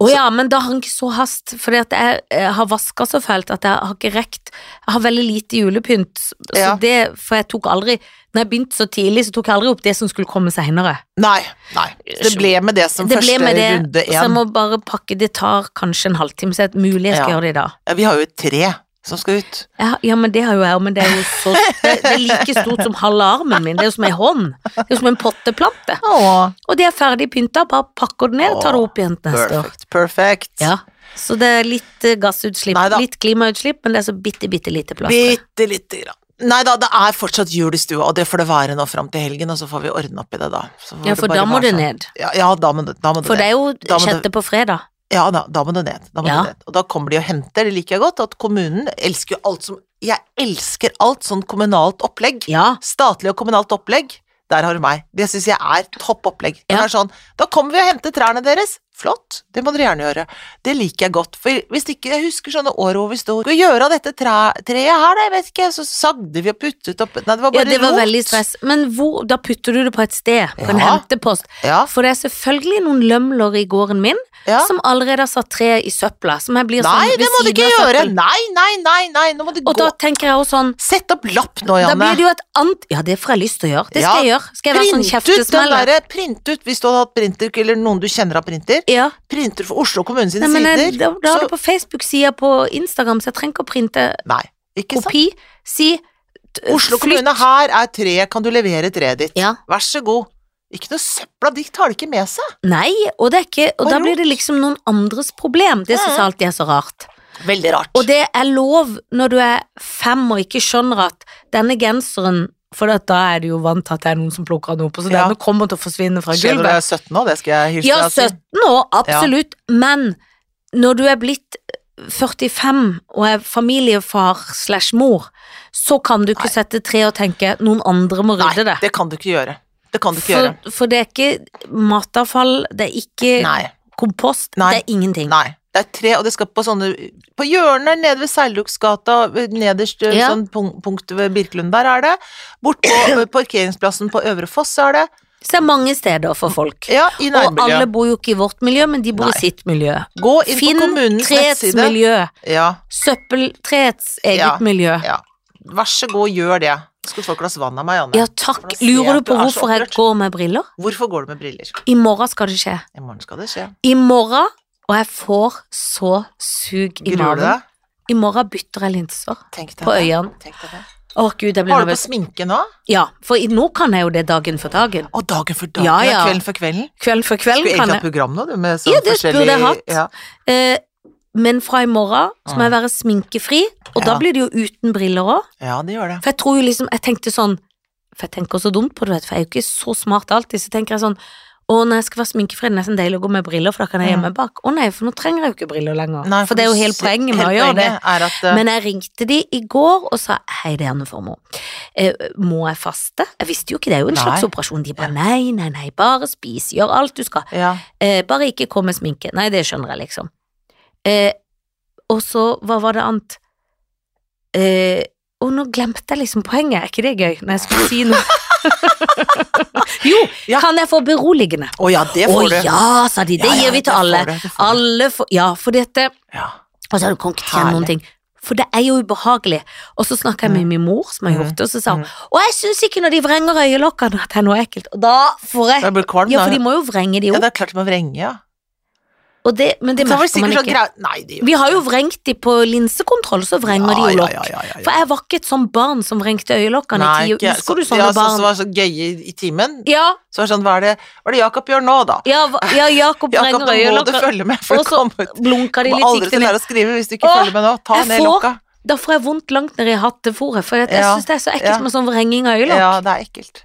[SPEAKER 2] Å ja, men da har han ikke så hast, fordi at jeg, eh, har vaska så fælt at jeg har ikke rekt Jeg har veldig lite julepynt, så
[SPEAKER 1] Ja.
[SPEAKER 2] det, for jeg tok aldri Når jeg begynte så tidlig, så tok jeg aldri opp det som skulle komme seinere.
[SPEAKER 1] Nei, nei. Det ble med det som
[SPEAKER 2] Det ble
[SPEAKER 1] første
[SPEAKER 2] med det,
[SPEAKER 1] runde
[SPEAKER 2] så jeg
[SPEAKER 1] én.
[SPEAKER 2] må bare pakke Det tar kanskje en halvtime, så det er mulig jeg skal
[SPEAKER 1] Ja.
[SPEAKER 2] gjøre det i dag.
[SPEAKER 1] Ja, vi har jo et tre som skal ut.
[SPEAKER 2] Jeg har- Ja, men det har jo jeg, men det er jo så Det det er like stort som halve armen min. Det er jo som ei hånd. Det er jo som en potteplante.
[SPEAKER 1] Åh,
[SPEAKER 2] Og det er ferdig pynta, bare pakker det ned og tar det opp igjen neste år.
[SPEAKER 1] perfect, perfect.
[SPEAKER 2] Ja, så det er litt eh, gassutslipp,
[SPEAKER 1] Neida.
[SPEAKER 2] litt klimautslipp, men det er så bitte, bitte lite plass. til.
[SPEAKER 1] Bitte lite grann. Nei da, det er fortsatt jul i stua, og det får det være nå fram til helgen, og så får vi ordne opp i det da. Så får
[SPEAKER 2] Ja,
[SPEAKER 1] det
[SPEAKER 2] for
[SPEAKER 1] bare
[SPEAKER 2] da må
[SPEAKER 1] være
[SPEAKER 2] det
[SPEAKER 1] sånn.
[SPEAKER 2] ned.
[SPEAKER 1] Ja, ja da må det, da må det
[SPEAKER 2] For det
[SPEAKER 1] ned.
[SPEAKER 2] er jo
[SPEAKER 1] Da må det-
[SPEAKER 2] sjette på fredag.
[SPEAKER 1] Ja da, da må det ned. Da må
[SPEAKER 2] Ja.
[SPEAKER 1] det ned. Og da kommer de og henter, det liker jeg godt, at kommunen elsker jo alt som Jeg elsker alt sånn kommunalt opplegg.
[SPEAKER 2] Ja,
[SPEAKER 1] Statlig og kommunalt opplegg. Der har du meg. Det syns jeg er topp opplegg. Det
[SPEAKER 2] Ja.
[SPEAKER 1] er sånn, da kommer vi og henter trærne deres. Flott, det må dere gjerne gjøre. Det liker jeg godt, for hvis ikke jeg husker sånne år hvor vi sto Skal vi gjøre av dette tre, treet her, da, jeg vet ikke, så sagde vi og puttet opp Nei, det var bare
[SPEAKER 2] Ja, det var
[SPEAKER 1] rot.
[SPEAKER 2] veldig stress. Men hvor, da putter du det på et sted, på en
[SPEAKER 1] Ja.
[SPEAKER 2] hentepost.
[SPEAKER 1] Ja,
[SPEAKER 2] For det er selvfølgelig noen lømler i gården min
[SPEAKER 1] ja.
[SPEAKER 2] som allerede har satt tre i søpla. Som jeg blir
[SPEAKER 1] Nei,
[SPEAKER 2] sånn
[SPEAKER 1] det må du ikke
[SPEAKER 2] av
[SPEAKER 1] gjøre!
[SPEAKER 2] søppelen.
[SPEAKER 1] Nei, nei, nei, nei, nå må du
[SPEAKER 2] Og
[SPEAKER 1] gå
[SPEAKER 2] da tenker jeg også sånn
[SPEAKER 1] Sett opp lapp nå,
[SPEAKER 2] Da
[SPEAKER 1] Janne.
[SPEAKER 2] blir det jo et annet Ja, det får jeg lyst til å gjøre. Det skal
[SPEAKER 1] Ja.
[SPEAKER 2] jeg gjøre. Skal jeg være sånn
[SPEAKER 1] Print ut den
[SPEAKER 2] kjeftesmeller?
[SPEAKER 1] derre, print ut hvis du hadde hatt printer, eller noen du kjenner har printer.
[SPEAKER 2] Ja.
[SPEAKER 1] Printer for Oslo kommune sine
[SPEAKER 2] Nei, men eh, jeg,
[SPEAKER 1] sider.
[SPEAKER 2] da, da har
[SPEAKER 1] så-
[SPEAKER 2] du på Facebook-sida på Instagram, så jeg trenger ikke å printe
[SPEAKER 1] Nei, ikke sant?
[SPEAKER 2] kopi. Si t-
[SPEAKER 1] Oslo kommune, her er treet, kan du levere treet ditt?
[SPEAKER 2] Ja.
[SPEAKER 1] Vær så god. Ikke noe søpla, de tar det ikke med seg.
[SPEAKER 2] Nei, og det er ikke Og
[SPEAKER 1] Og
[SPEAKER 2] da
[SPEAKER 1] rot.
[SPEAKER 2] blir det liksom noen andres problem. Det syns jeg alltid er så rart.
[SPEAKER 1] Veldig rart.
[SPEAKER 2] Og det er lov når du er fem og ikke skjønner at denne genseren For at da er du jo vant til at det er noen som plukker den opp, og så
[SPEAKER 1] Ja.
[SPEAKER 2] denne kommer til å forsvinne fra
[SPEAKER 1] skjer når du
[SPEAKER 2] gulvet.
[SPEAKER 1] er 17 nå, det skal jeg hilse
[SPEAKER 2] Ja,
[SPEAKER 1] deg og si.
[SPEAKER 2] 17 år, absolutt. Men når du er blitt 45 og er familiefar slash mor, så kan du ikke sette tre og tenke noen andre må rydde
[SPEAKER 1] Nei,
[SPEAKER 2] det.
[SPEAKER 1] det kan du ikke gjøre. Det kan du ikke
[SPEAKER 2] For,
[SPEAKER 1] gjøre.
[SPEAKER 2] for det er ikke matavfall, det er ikke
[SPEAKER 1] Nei.
[SPEAKER 2] kompost,
[SPEAKER 1] Nei.
[SPEAKER 2] det er ingenting.
[SPEAKER 1] Nei. Det er tre, og det skal på sånne På hjørnet nede ved Seilduksgata, nederst eh,
[SPEAKER 2] Ja.
[SPEAKER 1] sånn punk punkt ved Birkelund, der er det. Bort på eh, parkeringsplassen på Øvre Foss er det.
[SPEAKER 2] Så det er mange steder for folk.
[SPEAKER 1] Ja, i
[SPEAKER 2] og alle
[SPEAKER 1] nærmiljøet.
[SPEAKER 2] bor jo ikke i vårt miljø, men de bor
[SPEAKER 1] Nei.
[SPEAKER 2] i sitt miljø.
[SPEAKER 1] Gå inn på
[SPEAKER 2] Finn
[SPEAKER 1] kommunens
[SPEAKER 2] treets
[SPEAKER 1] nettside.
[SPEAKER 2] miljø.
[SPEAKER 1] Ja,
[SPEAKER 2] Søppeltreets eget
[SPEAKER 1] Ja.
[SPEAKER 2] miljø.
[SPEAKER 1] ja. Vær så god, gjør det. Skal du få et glass vann av meg, Janne?
[SPEAKER 2] Ja, takk.
[SPEAKER 1] For da ser jeg
[SPEAKER 2] Lurer
[SPEAKER 1] at
[SPEAKER 2] du
[SPEAKER 1] du
[SPEAKER 2] på
[SPEAKER 1] er så
[SPEAKER 2] hvorfor jeg
[SPEAKER 1] opprørt.
[SPEAKER 2] går med briller?
[SPEAKER 1] Hvorfor går du med briller?
[SPEAKER 2] I morgen skal det skje.
[SPEAKER 1] I morgen skal det skje.
[SPEAKER 2] I morgen, og jeg får så sug i
[SPEAKER 1] Gruer du
[SPEAKER 2] magen.
[SPEAKER 1] deg?
[SPEAKER 2] I morgen bytter jeg linser
[SPEAKER 1] Tenk deg
[SPEAKER 2] på
[SPEAKER 1] det.
[SPEAKER 2] øynene.
[SPEAKER 1] Tenk deg det.
[SPEAKER 2] Å gud, jeg blir
[SPEAKER 1] Har du på
[SPEAKER 2] nervøs.
[SPEAKER 1] sminke nå?
[SPEAKER 2] Ja, for i- nå kan jeg jo det dagen for dagen.
[SPEAKER 1] Og dagen for dagen,
[SPEAKER 2] Ja, ja.
[SPEAKER 1] kvelden for kvelden.
[SPEAKER 2] Kvelden for
[SPEAKER 1] Skulle
[SPEAKER 2] kvelden kan
[SPEAKER 1] egentlig hatt
[SPEAKER 2] jeg.
[SPEAKER 1] program nå, du, med sånn
[SPEAKER 2] Ja, det burde
[SPEAKER 1] forskjellig
[SPEAKER 2] jeg hatt.
[SPEAKER 1] Ja.
[SPEAKER 2] Eh, men fra i morgen så må jeg være sminkefri, og da
[SPEAKER 1] Ah. Ja.
[SPEAKER 2] blir det jo uten briller òg.
[SPEAKER 1] ja, det gjør det.
[SPEAKER 2] For jeg tror jo liksom, jeg tenkte sånn For jeg tenker så dumt på det, vet du, for jeg er jo ikke så smart alltid. Så tenker jeg sånn Å, når jeg skal være sminkefri, er det nesten deilig å gå med briller, for da kan jeg
[SPEAKER 1] Mm.
[SPEAKER 2] gjemme bak. Å nei, for nå trenger jeg jo ikke briller lenger.
[SPEAKER 1] Nei,
[SPEAKER 2] for det er
[SPEAKER 1] du
[SPEAKER 2] jo hele
[SPEAKER 1] ser-
[SPEAKER 2] poenget med
[SPEAKER 1] hele
[SPEAKER 2] å gjøre det.
[SPEAKER 1] poenget Er at, eh,
[SPEAKER 2] Men jeg ringte de i går og sa hei, det er Anne Formoe. Eh, må jeg faste? Jeg visste jo ikke, det er jo en
[SPEAKER 1] Nei.
[SPEAKER 2] slags operasjon. De bare nei, nei, nei, bare spis, gjør alt du skal.
[SPEAKER 1] ja.
[SPEAKER 2] Eh, bare ikke kom med sminke. Nei, det skjønner jeg, liksom. Eh, og så, hva var det annet? Eh, og nå glemte jeg liksom poenget, er ikke det gøy? Når jeg skulle si noe. jo,
[SPEAKER 1] Ja.
[SPEAKER 2] kan jeg få beroligende?
[SPEAKER 1] Å ja, det
[SPEAKER 2] Å
[SPEAKER 1] får du.
[SPEAKER 2] ja, sa de, det
[SPEAKER 1] Ja, ja,
[SPEAKER 2] gir vi til
[SPEAKER 1] får
[SPEAKER 2] alle.
[SPEAKER 1] du, det får du.
[SPEAKER 2] Alle får Ja, for dette
[SPEAKER 1] Ja.
[SPEAKER 2] og så har du kan ikke tjene noen
[SPEAKER 1] Herlig.
[SPEAKER 2] ting. For det er jo ubehagelig. Og så snakka jeg med
[SPEAKER 1] Mm.
[SPEAKER 2] min mor, som har gjort det, og så sa hun
[SPEAKER 1] Mm.
[SPEAKER 2] Og jeg syns ikke når de vrenger øyelokkene at det er noe ekkelt. Og da får jeg
[SPEAKER 1] Jeg blir kvalm,
[SPEAKER 2] Ja,
[SPEAKER 1] da.
[SPEAKER 2] for de må jo vrenge de
[SPEAKER 1] Ja,
[SPEAKER 2] opp.
[SPEAKER 1] det er klart de må vrenge, ja.
[SPEAKER 2] Og det, men det
[SPEAKER 1] Så var
[SPEAKER 2] merker man
[SPEAKER 1] sikkert sånn
[SPEAKER 2] ikke.
[SPEAKER 1] grei- Nei, det gjør
[SPEAKER 2] Vi har jo vrengt de på linsekontroll, så vrenger de jo
[SPEAKER 1] ja,
[SPEAKER 2] lokk.
[SPEAKER 1] ja, ja, ja, ja.
[SPEAKER 2] For jeg var ikke et sånt barn som vrengte øyelokkene i
[SPEAKER 1] Nei,
[SPEAKER 2] tida.
[SPEAKER 1] ikke-
[SPEAKER 2] Husker du
[SPEAKER 1] så-
[SPEAKER 2] sånne
[SPEAKER 1] ja, så-
[SPEAKER 2] barn?
[SPEAKER 1] som var så gøye i, i timen.
[SPEAKER 2] Ja,
[SPEAKER 1] Så var det sånn, hva er det, hva er det Jakob gjør nå, da?
[SPEAKER 2] ja, hva- ja,
[SPEAKER 1] Jakob,
[SPEAKER 2] Jakob vrenger
[SPEAKER 1] nå må du
[SPEAKER 2] øyelokkene.
[SPEAKER 1] følge med, for
[SPEAKER 2] Og
[SPEAKER 1] det
[SPEAKER 2] så
[SPEAKER 1] kommer ut. Du
[SPEAKER 2] Blunker de
[SPEAKER 1] må
[SPEAKER 2] litt
[SPEAKER 1] aldri
[SPEAKER 2] siktig
[SPEAKER 1] til
[SPEAKER 2] ned.
[SPEAKER 1] lære å skrive hvis du ikke
[SPEAKER 2] Åh,
[SPEAKER 1] følger med nå. Ta
[SPEAKER 2] jeg
[SPEAKER 1] ned
[SPEAKER 2] får-
[SPEAKER 1] lokka.
[SPEAKER 2] Da får jeg vondt langt ned i hattefòret, for jeg
[SPEAKER 1] Ja,
[SPEAKER 2] syns det er så ekkelt
[SPEAKER 1] ja.
[SPEAKER 2] med sånn vrenging av øyelokk.
[SPEAKER 1] Ja, det er ekkelt.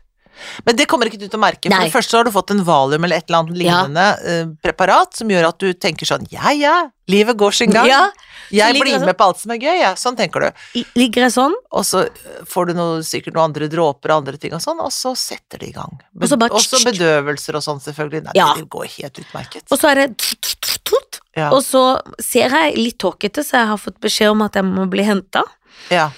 [SPEAKER 1] Men det kommer ikke du til å merke. For
[SPEAKER 2] Nei.
[SPEAKER 1] det første så har du fått en valium eller et eller annet
[SPEAKER 2] Ja.
[SPEAKER 1] lignende eh, preparat som gjør at du tenker sånn ja ja, livet går sin gang.
[SPEAKER 2] Ja, så
[SPEAKER 1] jeg
[SPEAKER 2] ligger
[SPEAKER 1] blir
[SPEAKER 2] det
[SPEAKER 1] med på alt som er gøy, jeg. Sånn tenker du.
[SPEAKER 2] I- Ligger jeg sånn,
[SPEAKER 1] Og så eh, får du noe, sikkert noen andre dråper og andre ting og sånn, og så setter det i gang.
[SPEAKER 2] Og så bare-
[SPEAKER 1] Også bedøvelser og sånn, selvfølgelig. Nei,
[SPEAKER 2] Ja.
[SPEAKER 1] det går helt utmerket.
[SPEAKER 2] og så er det tut, tut, tut, tut.
[SPEAKER 1] Ja.
[SPEAKER 2] Og så ser jeg litt tåkete, så jeg har fått beskjed om at jeg må bli henta.
[SPEAKER 1] ja.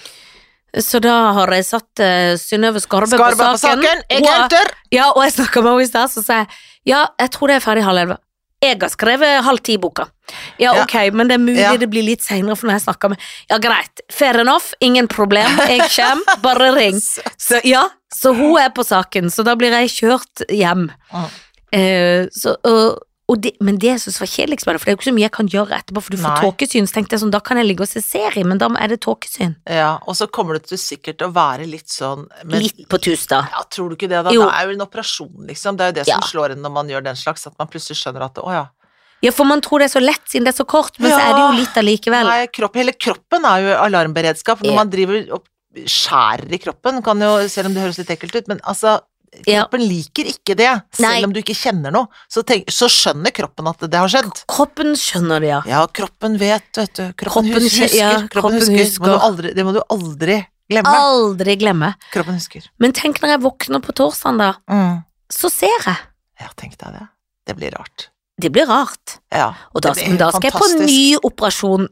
[SPEAKER 2] Så da har jeg satt uh, Synnøve Skarbe på
[SPEAKER 1] Skarbe på
[SPEAKER 2] saken.
[SPEAKER 1] saken, jeg
[SPEAKER 2] Hun har-
[SPEAKER 1] henter!
[SPEAKER 2] ja, og jeg snakka med henne i stad, så sa jeg ja, jeg tror det er ferdig halv elleve. Jeg har skrevet halv ti i boka. Ja,
[SPEAKER 1] Ja.
[SPEAKER 2] ok, men det er mulig
[SPEAKER 1] Ja.
[SPEAKER 2] det blir litt seinere, for når jeg snakker med Ja, greit, fair enough, ingen problem, jeg kommer, bare ring. Så, ja, så hun er på saken, så da blir jeg kjørt hjem.
[SPEAKER 1] Mm.
[SPEAKER 2] Eh, så, og, og det, men det jeg synes var kjedeligst med det, for det er jo ikke så mye jeg kan gjøre etterpå, for du får
[SPEAKER 1] Nei.
[SPEAKER 2] tåkesyn, så tenkte jeg sånn, da kan jeg ligge og se serie, men da er det tåkesyn.
[SPEAKER 1] Ja, og så kommer du til sikkert til å være litt sånn men-
[SPEAKER 2] Litt på tusta.
[SPEAKER 1] Ja, tror du ikke det, da?
[SPEAKER 2] Jo.
[SPEAKER 1] Det er jo en operasjon, liksom. Det er jo det
[SPEAKER 2] Ja.
[SPEAKER 1] som slår inn når man gjør den slags, at man plutselig skjønner at å ja.
[SPEAKER 2] Ja, for man tror det er så lett siden det er så kort, men så er det
[SPEAKER 1] Ja.
[SPEAKER 2] jo litt allikevel.
[SPEAKER 1] Nei, kropp, hele kroppen er jo alarmberedskap. Når
[SPEAKER 2] Ja.
[SPEAKER 1] man driver og skjærer i kroppen, kan jo, selv om det høres litt ekkelt ut, men altså
[SPEAKER 2] Ja.
[SPEAKER 1] Kroppen liker ikke det, selv
[SPEAKER 2] Nei.
[SPEAKER 1] om du ikke kjenner noe. Så, tenk, så skjønner kroppen at det har skjedd.
[SPEAKER 2] Kroppen skjønner det, ja.
[SPEAKER 1] Ja, kroppen vet, vet du. Kroppen,
[SPEAKER 2] Kroppen
[SPEAKER 1] hus-
[SPEAKER 2] skje-
[SPEAKER 1] husker.
[SPEAKER 2] ja, kroppen
[SPEAKER 1] kroppen husker. Det, må
[SPEAKER 2] husker.
[SPEAKER 1] du aldri, det må du aldri glemme.
[SPEAKER 2] Aldri glemme.
[SPEAKER 1] Kroppen husker.
[SPEAKER 2] Men tenk når jeg våkner på torsdagen da,
[SPEAKER 1] Mm.
[SPEAKER 2] så ser jeg.
[SPEAKER 1] Ja, tenk deg det. Det blir rart.
[SPEAKER 2] Det blir rart.
[SPEAKER 1] Ja,
[SPEAKER 2] Og da,
[SPEAKER 1] det
[SPEAKER 2] men
[SPEAKER 1] blir
[SPEAKER 2] da skal jeg på
[SPEAKER 1] fantastisk.
[SPEAKER 2] ny operasjon,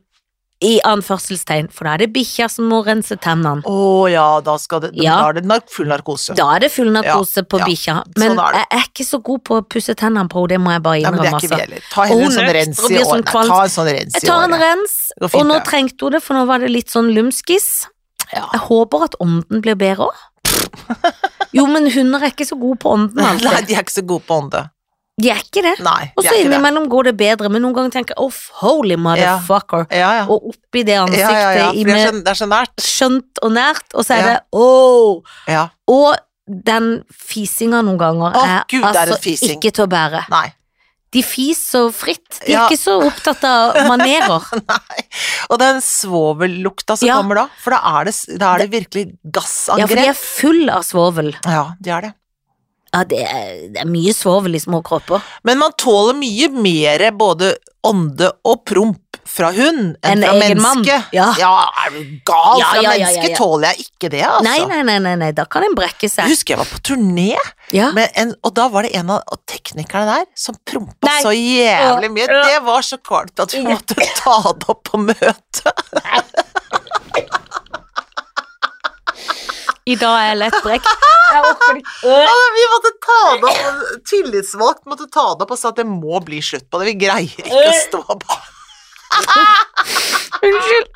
[SPEAKER 2] i anførselstegn, for da er det bikkja som må rense tennene.
[SPEAKER 1] Å ja, da skal det
[SPEAKER 2] Ja.
[SPEAKER 1] Da er det nar full narkose.
[SPEAKER 2] Da er det full narkose på
[SPEAKER 1] ja.
[SPEAKER 2] bikkja, men
[SPEAKER 1] Sånn er det.
[SPEAKER 2] jeg er ikke så god på å pusse tennene på henne, det må jeg bare
[SPEAKER 1] Nei, men det er
[SPEAKER 2] innrømme.
[SPEAKER 1] ikke vi
[SPEAKER 2] altså.
[SPEAKER 1] heller. Ta heller
[SPEAKER 2] Og
[SPEAKER 1] en
[SPEAKER 2] hun
[SPEAKER 1] sånn
[SPEAKER 2] økser
[SPEAKER 1] rens
[SPEAKER 2] og
[SPEAKER 1] i
[SPEAKER 2] blir sånn
[SPEAKER 1] året.
[SPEAKER 2] kvalm.
[SPEAKER 1] Ta en sånn rens
[SPEAKER 2] Jeg
[SPEAKER 1] i
[SPEAKER 2] tar en
[SPEAKER 1] året.
[SPEAKER 2] rens,
[SPEAKER 1] Det går fint,
[SPEAKER 2] og nå
[SPEAKER 1] det.
[SPEAKER 2] trengte hun det, for nå var det litt sånn lumskis.
[SPEAKER 1] Ja.
[SPEAKER 2] Jeg håper at ånden blir bedre òg. Jo, men hunder er ikke så gode på ånden
[SPEAKER 1] Nei,
[SPEAKER 2] alltid.
[SPEAKER 1] de er ikke så gode på ånde.
[SPEAKER 2] De er ikke det.
[SPEAKER 1] Nei,
[SPEAKER 2] Og
[SPEAKER 1] de
[SPEAKER 2] så
[SPEAKER 1] er ikke det.
[SPEAKER 2] innimellom går det bedre, men noen ganger tenker jeg off, holy motherfucker.
[SPEAKER 1] Ja, ja.
[SPEAKER 2] Og oppi det ansiktet
[SPEAKER 1] ja, ja, ja. For
[SPEAKER 2] i
[SPEAKER 1] det er
[SPEAKER 2] med
[SPEAKER 1] så- det er så nært.
[SPEAKER 2] skjønt og nært, og så er
[SPEAKER 1] Ja.
[SPEAKER 2] det åh.
[SPEAKER 1] Ja.
[SPEAKER 2] Og den fisinga noen ganger
[SPEAKER 1] Å,
[SPEAKER 2] er
[SPEAKER 1] Gud, det er en
[SPEAKER 2] altså
[SPEAKER 1] fising.
[SPEAKER 2] ikke til å bære.
[SPEAKER 1] Nei.
[SPEAKER 2] De fiser fritt, de er
[SPEAKER 1] Ja.
[SPEAKER 2] ikke så opptatt av manerer.
[SPEAKER 1] Nei. Og den svovellukta som
[SPEAKER 2] Ja.
[SPEAKER 1] kommer da, for da er det, s- da er det virkelig
[SPEAKER 2] Ja, for de
[SPEAKER 1] gassangrep.
[SPEAKER 2] er full av svovel.
[SPEAKER 1] Ja, de er det.
[SPEAKER 2] Ja, det er, det er mye svovel i små kropper.
[SPEAKER 1] Men man tåler mye mer både ånde og promp fra hund enn
[SPEAKER 2] En
[SPEAKER 1] fra
[SPEAKER 2] egen mann.
[SPEAKER 1] menneske.
[SPEAKER 2] Ja.
[SPEAKER 1] ja, er du gal?
[SPEAKER 2] Ja,
[SPEAKER 1] fra
[SPEAKER 2] ja, ja, ja,
[SPEAKER 1] menneske
[SPEAKER 2] ja.
[SPEAKER 1] tåler jeg ikke det, altså.
[SPEAKER 2] Nei, nei, nei, nei, nei, da kan en brekke
[SPEAKER 1] Jeg
[SPEAKER 2] seg.
[SPEAKER 1] husker jeg var på turné,
[SPEAKER 2] Ja.
[SPEAKER 1] med en, og da var det en av teknikerne der som prompa
[SPEAKER 2] Nei.
[SPEAKER 1] så jævlig mye.
[SPEAKER 2] Åh.
[SPEAKER 1] Det var så kvalmt at vi måtte ta det opp på møtet.
[SPEAKER 2] I dag er jeg lett brekt. Jeg orker ikke. Øh.
[SPEAKER 1] Vi måtte ta det opp, tillitsvalgt måtte ta det opp og sa at det må bli slutt på det. Vi greier ikke å stå på
[SPEAKER 2] Unnskyld.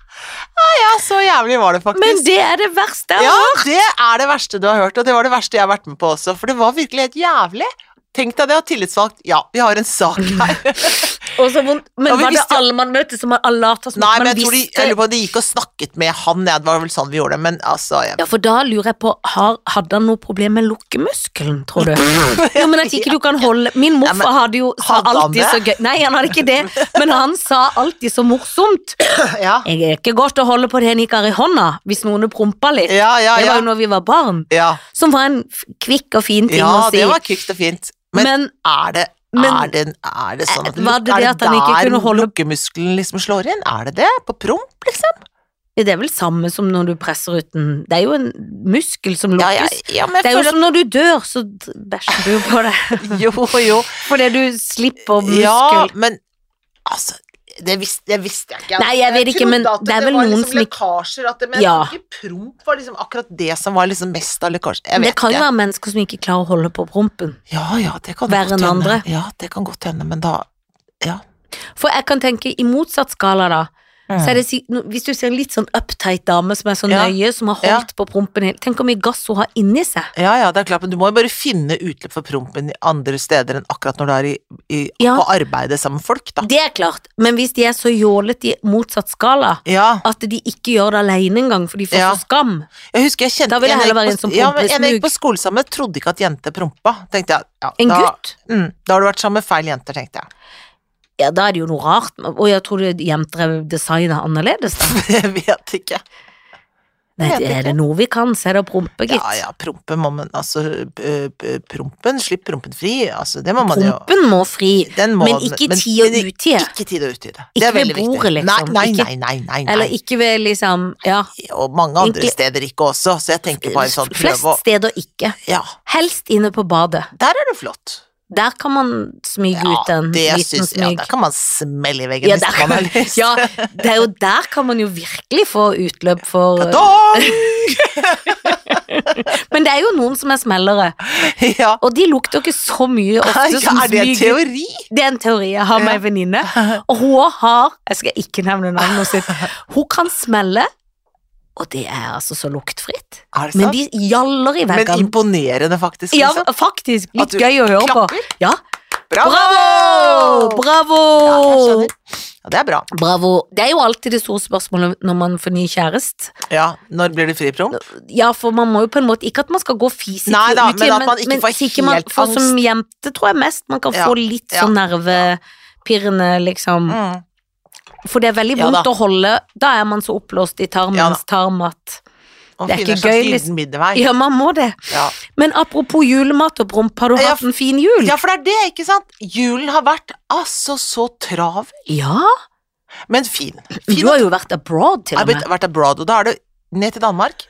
[SPEAKER 1] Ja, så jævlig var det faktisk.
[SPEAKER 2] Men det er det verste.
[SPEAKER 1] Ja, det er det verste du har hørt, og det var det verste jeg har vært med på også, for det var virkelig helt jævlig. Tenk deg det, og tillitsvalgt, ja, vi har en sak her.
[SPEAKER 2] Og så vondt. Men
[SPEAKER 1] Ja, vi
[SPEAKER 2] var det
[SPEAKER 1] visste jo-
[SPEAKER 2] alle man møtte som alle lot som
[SPEAKER 1] Nei,
[SPEAKER 2] man
[SPEAKER 1] men jeg tror de,
[SPEAKER 2] visste?
[SPEAKER 1] jeg lurer på, om de gikk og snakket med han, ja, det var vel sånn vi gjorde det, men altså, jeg,
[SPEAKER 2] Ja, for da lurer jeg på, har, hadde han noe problem med lukkemuskelen, tror du? Jo, men at ikke du kan holde Min
[SPEAKER 1] Ja, men
[SPEAKER 2] morfar hadde jo sa
[SPEAKER 1] hadde han
[SPEAKER 2] alltid
[SPEAKER 1] det?
[SPEAKER 2] så gøy Nei, han hadde ikke det, men han sa alltid så morsomt.
[SPEAKER 1] ja,
[SPEAKER 2] Jeg er ikke godt å holde på det en ikke har i hånda, hvis noen prompa litt.
[SPEAKER 1] ja, ja,
[SPEAKER 2] Det
[SPEAKER 1] ja,
[SPEAKER 2] var jo når vi var barn,
[SPEAKER 1] ja,
[SPEAKER 2] som var en f- kvikk og fin ting
[SPEAKER 1] ja
[SPEAKER 2] å si.
[SPEAKER 1] det var kvikt og fint, men,
[SPEAKER 2] Men
[SPEAKER 1] er det,
[SPEAKER 2] Men-
[SPEAKER 1] er det, er det sånn at,
[SPEAKER 2] Var det
[SPEAKER 1] er
[SPEAKER 2] det at han ikke
[SPEAKER 1] der
[SPEAKER 2] kunne holde-
[SPEAKER 1] lukkemuskelen liksom slår inn? Er det det? På promp, liksom?
[SPEAKER 2] det er vel samme som når du presser ut en Det er jo en muskel som
[SPEAKER 1] Ja,
[SPEAKER 2] lukkes.
[SPEAKER 1] ja, ja, men
[SPEAKER 2] Det
[SPEAKER 1] jeg
[SPEAKER 2] er jo
[SPEAKER 1] føler
[SPEAKER 2] som når du dør, så d- bæsjer du jo på det.
[SPEAKER 1] at, jo, jo,
[SPEAKER 2] Fordi du slipper muskel.
[SPEAKER 1] Ja, men altså det visste, det visste jeg ikke.
[SPEAKER 2] Nei, jeg vet ikke, men
[SPEAKER 1] trodde at
[SPEAKER 2] det er vel
[SPEAKER 1] var
[SPEAKER 2] noen
[SPEAKER 1] liksom
[SPEAKER 2] som ikke-
[SPEAKER 1] lekkasjer, at det, men jeg
[SPEAKER 2] Ja.
[SPEAKER 1] tror ikke promp var liksom akkurat det som var liksom mest av lekkasjer. Jeg
[SPEAKER 2] Men
[SPEAKER 1] vet
[SPEAKER 2] det kan jo
[SPEAKER 1] ikke.
[SPEAKER 2] være mennesker som ikke klarer å holde på prompen.
[SPEAKER 1] Ja, ja, det kan
[SPEAKER 2] Verre
[SPEAKER 1] godt
[SPEAKER 2] enn
[SPEAKER 1] hende.
[SPEAKER 2] andre.
[SPEAKER 1] Ja, det kan godt hende, men da Ja.
[SPEAKER 2] For jeg kan tenke i motsatt skala, da. Så er det, si- no- hvis du ser en litt sånn uptight dame som er så
[SPEAKER 1] Ja.
[SPEAKER 2] nøye, som har
[SPEAKER 1] Ja.
[SPEAKER 2] holdt på prompen hele Tenk hvor mye gass hun har inni seg.
[SPEAKER 1] Ja, ja, det er klart, men du må jo bare finne utløp for prompen i andre steder enn akkurat når du er i, i,
[SPEAKER 2] Ja.
[SPEAKER 1] på arbeidet sammen med folk, da.
[SPEAKER 2] Det er klart, men hvis de er så jålete i motsatt skala
[SPEAKER 1] Ja.
[SPEAKER 2] at de ikke gjør det alene engang, for de får
[SPEAKER 1] Ja.
[SPEAKER 2] så skam.
[SPEAKER 1] Jeg husker jeg kjente
[SPEAKER 2] Da vil jeg
[SPEAKER 1] en
[SPEAKER 2] heller
[SPEAKER 1] gikk
[SPEAKER 2] være
[SPEAKER 1] på-
[SPEAKER 2] en som
[SPEAKER 1] ja, men
[SPEAKER 2] promper
[SPEAKER 1] En jeg gikk
[SPEAKER 2] smug.
[SPEAKER 1] på skole sammen med, trodde ikke at jenter prompa. Tenkte jeg, ja,
[SPEAKER 2] En
[SPEAKER 1] da,
[SPEAKER 2] gutt?
[SPEAKER 1] Mm, da har du vært sammen med feil jenter, tenkte jeg.
[SPEAKER 2] Ja, da er det jo noe rart. Og jeg tror det- jenter er designa annerledes, da.
[SPEAKER 1] Jeg vet ikke.
[SPEAKER 2] Nei,
[SPEAKER 1] vet
[SPEAKER 2] er det noe vi kan, så er det å prompe, gitt.
[SPEAKER 1] Ja, ja, prompen må man altså p- p- Prompen, slipp prompen fri, altså, det må man jo.
[SPEAKER 2] Prompen må fri,
[SPEAKER 1] Den må
[SPEAKER 2] men
[SPEAKER 1] den-
[SPEAKER 2] ikke
[SPEAKER 1] men-
[SPEAKER 2] tid og
[SPEAKER 1] men
[SPEAKER 2] utide.
[SPEAKER 1] Ikke tid og utide.
[SPEAKER 2] Ikke
[SPEAKER 1] Det er
[SPEAKER 2] ved
[SPEAKER 1] veldig viktig.
[SPEAKER 2] bordet, liksom.
[SPEAKER 1] Nei, nei,
[SPEAKER 2] Ikke-
[SPEAKER 1] nei, nei, nei, nei.
[SPEAKER 2] Eller ikke ved liksom Ja,
[SPEAKER 1] og mange andre
[SPEAKER 2] egentlig-
[SPEAKER 1] steder ikke også, så jeg tenker bare sånn
[SPEAKER 2] flest
[SPEAKER 1] prøv å
[SPEAKER 2] steder ikke.
[SPEAKER 1] Ja,
[SPEAKER 2] Helst inne på badet.
[SPEAKER 1] der er det flott.
[SPEAKER 2] Der kan man smyge ut en
[SPEAKER 1] det
[SPEAKER 2] liten
[SPEAKER 1] syns jeg. Ja,
[SPEAKER 2] smyg.
[SPEAKER 1] der kan man smelle i veggen
[SPEAKER 2] Ja,
[SPEAKER 1] hvis
[SPEAKER 2] der-
[SPEAKER 1] man har lyst.
[SPEAKER 2] Ja, det er jo der kan man jo virkelig få utløp for
[SPEAKER 1] Dong!
[SPEAKER 2] Men det er jo noen som er smellere,
[SPEAKER 1] ja.
[SPEAKER 2] og de lukter jo ikke så mye ofte som
[SPEAKER 1] ja, er det en
[SPEAKER 2] smyger.
[SPEAKER 1] teori?
[SPEAKER 2] Det er en teori jeg har med
[SPEAKER 1] Ja.
[SPEAKER 2] en venninne, og hun har Jeg skal ikke nevne navnet sitt. Hun kan smelle, og det er altså så luktfritt.
[SPEAKER 1] Er det
[SPEAKER 2] Men
[SPEAKER 1] sant?
[SPEAKER 2] de gjaller i
[SPEAKER 1] Men
[SPEAKER 2] veggene.
[SPEAKER 1] imponerende, faktisk.
[SPEAKER 2] Ja,
[SPEAKER 1] liksom.
[SPEAKER 2] faktisk.
[SPEAKER 1] At
[SPEAKER 2] Litt
[SPEAKER 1] du
[SPEAKER 2] gøy å høre på.
[SPEAKER 1] Klapper.
[SPEAKER 2] Ja.
[SPEAKER 1] Bravo!
[SPEAKER 2] Bravo! Bravo!
[SPEAKER 1] Ja, jeg skjønner. Ja, det er bra.
[SPEAKER 2] Bravo. Det er jo alltid det store spørsmålet når man får ny kjæreste.
[SPEAKER 1] Ja, når blir det fripromp?
[SPEAKER 2] Ja, for man må jo på en måte Ikke at man skal gå fisik
[SPEAKER 1] Nei da,
[SPEAKER 2] uti,
[SPEAKER 1] men at man ikke får
[SPEAKER 2] sikkert man
[SPEAKER 1] helt
[SPEAKER 2] får Som
[SPEAKER 1] angst.
[SPEAKER 2] jente tror jeg mest man kan
[SPEAKER 1] Ja,
[SPEAKER 2] få litt
[SPEAKER 1] ja.
[SPEAKER 2] sånn nervepirrende, liksom.
[SPEAKER 1] Mm.
[SPEAKER 2] For det er veldig
[SPEAKER 1] Ja,
[SPEAKER 2] vondt
[SPEAKER 1] da.
[SPEAKER 2] å holde Da er man så oppblåst i
[SPEAKER 1] Ja, da.
[SPEAKER 2] tarmens tarm at
[SPEAKER 1] Og
[SPEAKER 2] Det er
[SPEAKER 1] finne en
[SPEAKER 2] ikke
[SPEAKER 1] slags
[SPEAKER 2] gøy, liksom.
[SPEAKER 1] gylden middelvei.
[SPEAKER 2] Ja, man må det.
[SPEAKER 1] Ja.
[SPEAKER 2] Men apropos julemat og promp, har du
[SPEAKER 1] Ja,
[SPEAKER 2] hatt en fin jul?
[SPEAKER 1] ja, for det er det, ikke sant? Julen har vært altså så travel,
[SPEAKER 2] Ja,
[SPEAKER 1] men fin.
[SPEAKER 2] du
[SPEAKER 1] fin
[SPEAKER 2] har jo vært abroad til
[SPEAKER 1] Jeg har
[SPEAKER 2] og med.
[SPEAKER 1] blitt- vært abroad, og da er det ned til Danmark.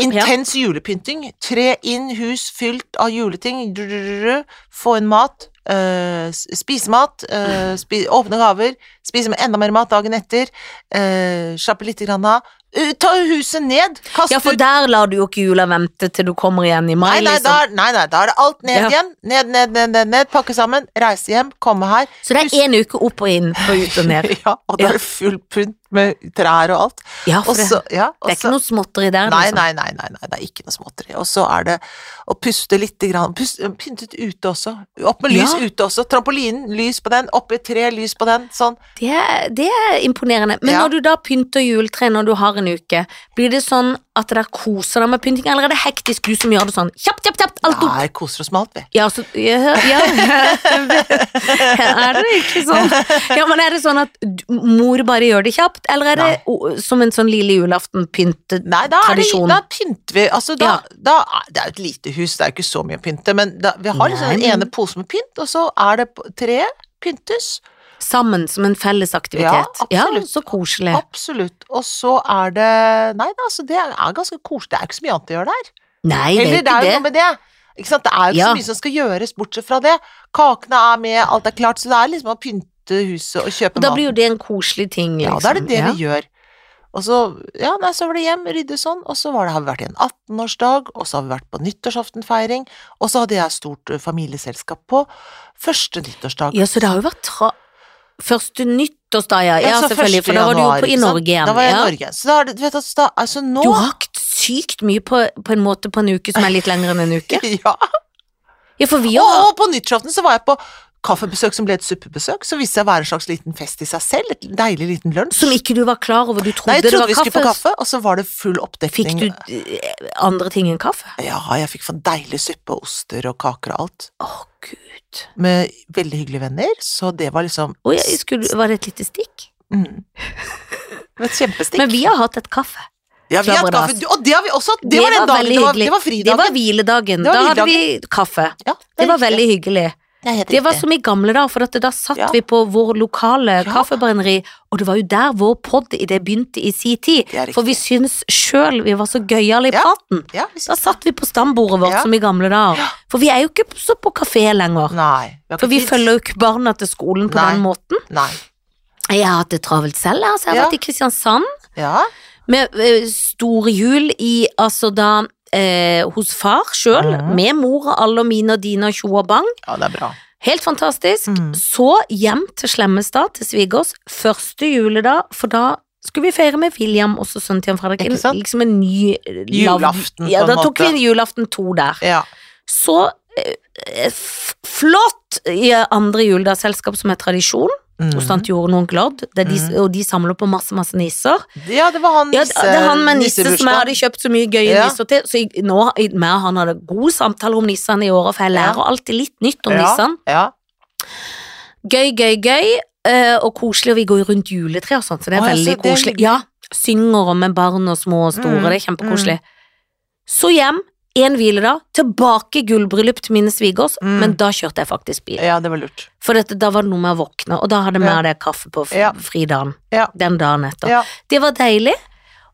[SPEAKER 1] Intens julepynting. Tre inn, hus fylt av juleting. Drrrr, få inn mat. eh, s- spise mat. eh, spi åpne gaver. Spise med enda mer mat dagen etter. Uh, slappe litt grann av. Eh, ta huset ned! Kast
[SPEAKER 2] Ja, for
[SPEAKER 1] ut
[SPEAKER 2] der lar du jo ikke jula vente til du kommer igjen i mai,
[SPEAKER 1] Nei nei,
[SPEAKER 2] liksom.
[SPEAKER 1] da, er- nei, nei, da er det alt ned
[SPEAKER 2] Ja.
[SPEAKER 1] igjen. Ned, ned, ned, ned, ned. Pakke sammen, reise hjem, komme her.
[SPEAKER 2] Så det er én uke opp og inn og ut og ned.
[SPEAKER 1] Ja, og da er det full pynt med trær og alt.
[SPEAKER 2] Ja, for
[SPEAKER 1] Og
[SPEAKER 2] det,
[SPEAKER 1] så, ja, og
[SPEAKER 2] det er
[SPEAKER 1] så-
[SPEAKER 2] ikke noe småtteri der,
[SPEAKER 1] Nei,
[SPEAKER 2] liksom.
[SPEAKER 1] nei, nei, nei, nei, det er ikke noe småtteri. Og så er det å puste lite grann. Pust, eh, pyntet ute også. Opp med lys
[SPEAKER 2] Ja.
[SPEAKER 1] ute også. Trampolinen, lys på den. Oppi et tre, lys på den. Sånn.
[SPEAKER 2] Det er, det er imponerende. Men
[SPEAKER 1] Ja.
[SPEAKER 2] når du da pynter juletre når du har en uke, blir det sånn at dere koser deg med pynting, eller er det hektisk du som gjør det sånn kjapt, kjapt, kjapt, alt opp?
[SPEAKER 1] Nei, koser oss med alt, vi.
[SPEAKER 2] Ja, så, ja, ja. Er det ikke sånn? Ja, men er det sånn at d- mor bare gjør det kjapt, eller er det
[SPEAKER 1] Nei.
[SPEAKER 2] o- som en sånn lille julaften pyntet?
[SPEAKER 1] Nei, da, er det,
[SPEAKER 2] Tradisjon.
[SPEAKER 1] da pynter vi. Altså, da,
[SPEAKER 2] Ja.
[SPEAKER 1] da, er- det er jo et lite hus, det er jo ikke så mye å pynte, men da, vi har liksom
[SPEAKER 2] Nei,
[SPEAKER 1] den
[SPEAKER 2] men-
[SPEAKER 1] ene posen med pynt, og så er det p- treet pyntes.
[SPEAKER 2] Sammen som en felles aktivitet?
[SPEAKER 1] Ja,
[SPEAKER 2] Ja,
[SPEAKER 1] absolutt.
[SPEAKER 2] så koselig.
[SPEAKER 1] Absolutt. Og så er det Nei da, altså, det er ganske koselig. Det er jo ikke så mye annet å gjøre der.
[SPEAKER 2] Nei, det er
[SPEAKER 1] Eller det
[SPEAKER 2] ikke
[SPEAKER 1] er jo
[SPEAKER 2] det.
[SPEAKER 1] noe med det. Ikke sant? Det er jo ikke
[SPEAKER 2] Ja.
[SPEAKER 1] så mye som skal gjøres, bortsett fra det. Kakene er med, alt er klart, så det er liksom å pynte huset og kjøpe
[SPEAKER 2] Og da blir jo det en koselig ting, liksom.
[SPEAKER 1] Ja, da er det det
[SPEAKER 2] Ja.
[SPEAKER 1] vi gjør. Og så, ja, nei, så var det hjem, rydde sånn, og så var det, har vi vært i en 18-årsdag, og så har vi vært på nyttårsaftenfeiring, og så hadde jeg stort eh, familieselskap på første nyttårsdag.
[SPEAKER 2] Ja, så det har jo vært tra... Første nyttårsdag, ja. Ja,
[SPEAKER 1] så
[SPEAKER 2] selvfølgelig,
[SPEAKER 1] første
[SPEAKER 2] for da var du jo
[SPEAKER 1] januar,
[SPEAKER 2] på i
[SPEAKER 1] ikke sant?
[SPEAKER 2] Norge igjen.
[SPEAKER 1] Da var jeg i
[SPEAKER 2] ja.
[SPEAKER 1] Norge. Så da er det, du vet, altså, da, altså nå
[SPEAKER 2] Du har hakt sykt mye på, på en måte på en uke som er litt lengre enn en uke.
[SPEAKER 1] Ja.
[SPEAKER 2] Ja, for vi
[SPEAKER 1] Og,
[SPEAKER 2] har
[SPEAKER 1] og på nyttårsaften så var jeg på kaffebesøk som ble et suppebesøk, så viste det seg å være en slags liten fest i seg selv, et deilig liten lunsj.
[SPEAKER 2] Som ikke du var klar over, du trodde,
[SPEAKER 1] Nei, jeg
[SPEAKER 2] det
[SPEAKER 1] trodde
[SPEAKER 2] var
[SPEAKER 1] vi skulle på
[SPEAKER 2] kaffe.
[SPEAKER 1] kaffe, og så var det full oppdekning.
[SPEAKER 2] Fikk du eh, andre ting enn kaffe?
[SPEAKER 1] Ja, jeg fikk for deilig suppe og oster og kaker og alt,
[SPEAKER 2] Å, gud.
[SPEAKER 1] med veldig hyggelige venner, så det var liksom
[SPEAKER 2] Å, jeg skulle, var det et lite stikk?
[SPEAKER 1] mm. Det var Et kjempestikk.
[SPEAKER 2] Men vi har hatt et kaffe.
[SPEAKER 1] ja, vi har hatt
[SPEAKER 2] Slabberas.
[SPEAKER 1] kaffe, og det har vi også hatt! Det, var den dagen,
[SPEAKER 2] veldig
[SPEAKER 1] det var,
[SPEAKER 2] hyggelig.
[SPEAKER 1] det var
[SPEAKER 2] Det var
[SPEAKER 1] fridagen.
[SPEAKER 2] hviledagen.
[SPEAKER 1] Det var
[SPEAKER 2] da hadde vi kaffe.
[SPEAKER 1] ja,
[SPEAKER 2] Det var
[SPEAKER 1] riktig.
[SPEAKER 2] veldig hyggelig.
[SPEAKER 1] Det er helt
[SPEAKER 2] Det var
[SPEAKER 1] riktig.
[SPEAKER 2] som i gamle dager, for at da satt
[SPEAKER 1] Ja.
[SPEAKER 2] vi på vår lokale
[SPEAKER 1] Ja.
[SPEAKER 2] kaffebrenneri, og det var jo der vår pod i det begynte i si tid.
[SPEAKER 1] Det er riktig.
[SPEAKER 2] For vi syntes sjøl vi var så gøyale i
[SPEAKER 1] Ja.
[SPEAKER 2] praten.
[SPEAKER 1] ja, vi
[SPEAKER 2] Da
[SPEAKER 1] synes-
[SPEAKER 2] satt vi på stambordet vårt
[SPEAKER 1] Ja.
[SPEAKER 2] som i gamle dager. For vi er jo ikke så på kafé lenger.
[SPEAKER 1] Nei. har
[SPEAKER 2] For
[SPEAKER 1] ikke
[SPEAKER 2] vi
[SPEAKER 1] tid.
[SPEAKER 2] følger jo ikke barna til skolen på
[SPEAKER 1] Nei.
[SPEAKER 2] den måten.
[SPEAKER 1] Nei.
[SPEAKER 2] Jeg har hatt det travelt selv, jeg, altså. Jeg har
[SPEAKER 1] Ja.
[SPEAKER 2] vært i Kristiansand
[SPEAKER 1] Ja.
[SPEAKER 2] med eh, store jul i altså da eh, hos far sjøl,
[SPEAKER 1] Mhm.
[SPEAKER 2] med mor og alle og mine og dine og tjo og bang.
[SPEAKER 1] ja, det er bra.
[SPEAKER 2] Helt fantastisk.
[SPEAKER 1] Mm.
[SPEAKER 2] Så hjem til Slemmestad, til svigers, første juledag, for da skulle vi feire med William, også sønnen til Jan Fredrik.
[SPEAKER 1] Ikke sant?
[SPEAKER 2] En- Liksom en ny eh, lav-
[SPEAKER 1] Julaften, på
[SPEAKER 2] Ja,
[SPEAKER 1] en
[SPEAKER 2] da tok
[SPEAKER 1] måte.
[SPEAKER 2] vi en julaften to der.
[SPEAKER 1] Ja.
[SPEAKER 2] Så eh, eh, f- flott i eh, andre juledagsselskap som er tradisjon,
[SPEAKER 1] Mm.
[SPEAKER 2] hos tante Jorunn og onkel Odd, der de,
[SPEAKER 1] Mhm.
[SPEAKER 2] og de samler på masse, masse nisser.
[SPEAKER 1] Ja, det var han
[SPEAKER 2] Ja, det er han med nisse som jeg
[SPEAKER 1] nissebursdag.
[SPEAKER 2] hadde kjøpt så mye gøye
[SPEAKER 1] Ja.
[SPEAKER 2] nisser til, så jeg, nå, jeg, meg og han hadde gode samtaler om nissene i året, for jeg
[SPEAKER 1] Ja.
[SPEAKER 2] lærer alltid litt nytt om
[SPEAKER 1] Ja.
[SPEAKER 2] nissene.
[SPEAKER 1] Ja.
[SPEAKER 2] gøy, gøy, gøy, eh, og koselig, og vi går jo rundt juletre og sånt, så det er
[SPEAKER 1] Å, ja, så
[SPEAKER 2] veldig
[SPEAKER 1] det er
[SPEAKER 2] koselig.
[SPEAKER 1] hyggelig.
[SPEAKER 2] Ja, synger om med barn og små og store,
[SPEAKER 1] Mm,
[SPEAKER 2] det er kjempekoselig. Så hjem, en hviledag, tilbake i gullbryllup til mine svigers,
[SPEAKER 1] Mm.
[SPEAKER 2] men da kjørte jeg faktisk bil.
[SPEAKER 1] ja, det var lurt.
[SPEAKER 2] For dette, da var det noe med å våkne, og da hadde jeg
[SPEAKER 1] Ja.
[SPEAKER 2] mer det kaffe på f-
[SPEAKER 1] Ja.
[SPEAKER 2] fridagen,
[SPEAKER 1] Ja.
[SPEAKER 2] den dagen etter.
[SPEAKER 1] Ja.
[SPEAKER 2] Det var deilig.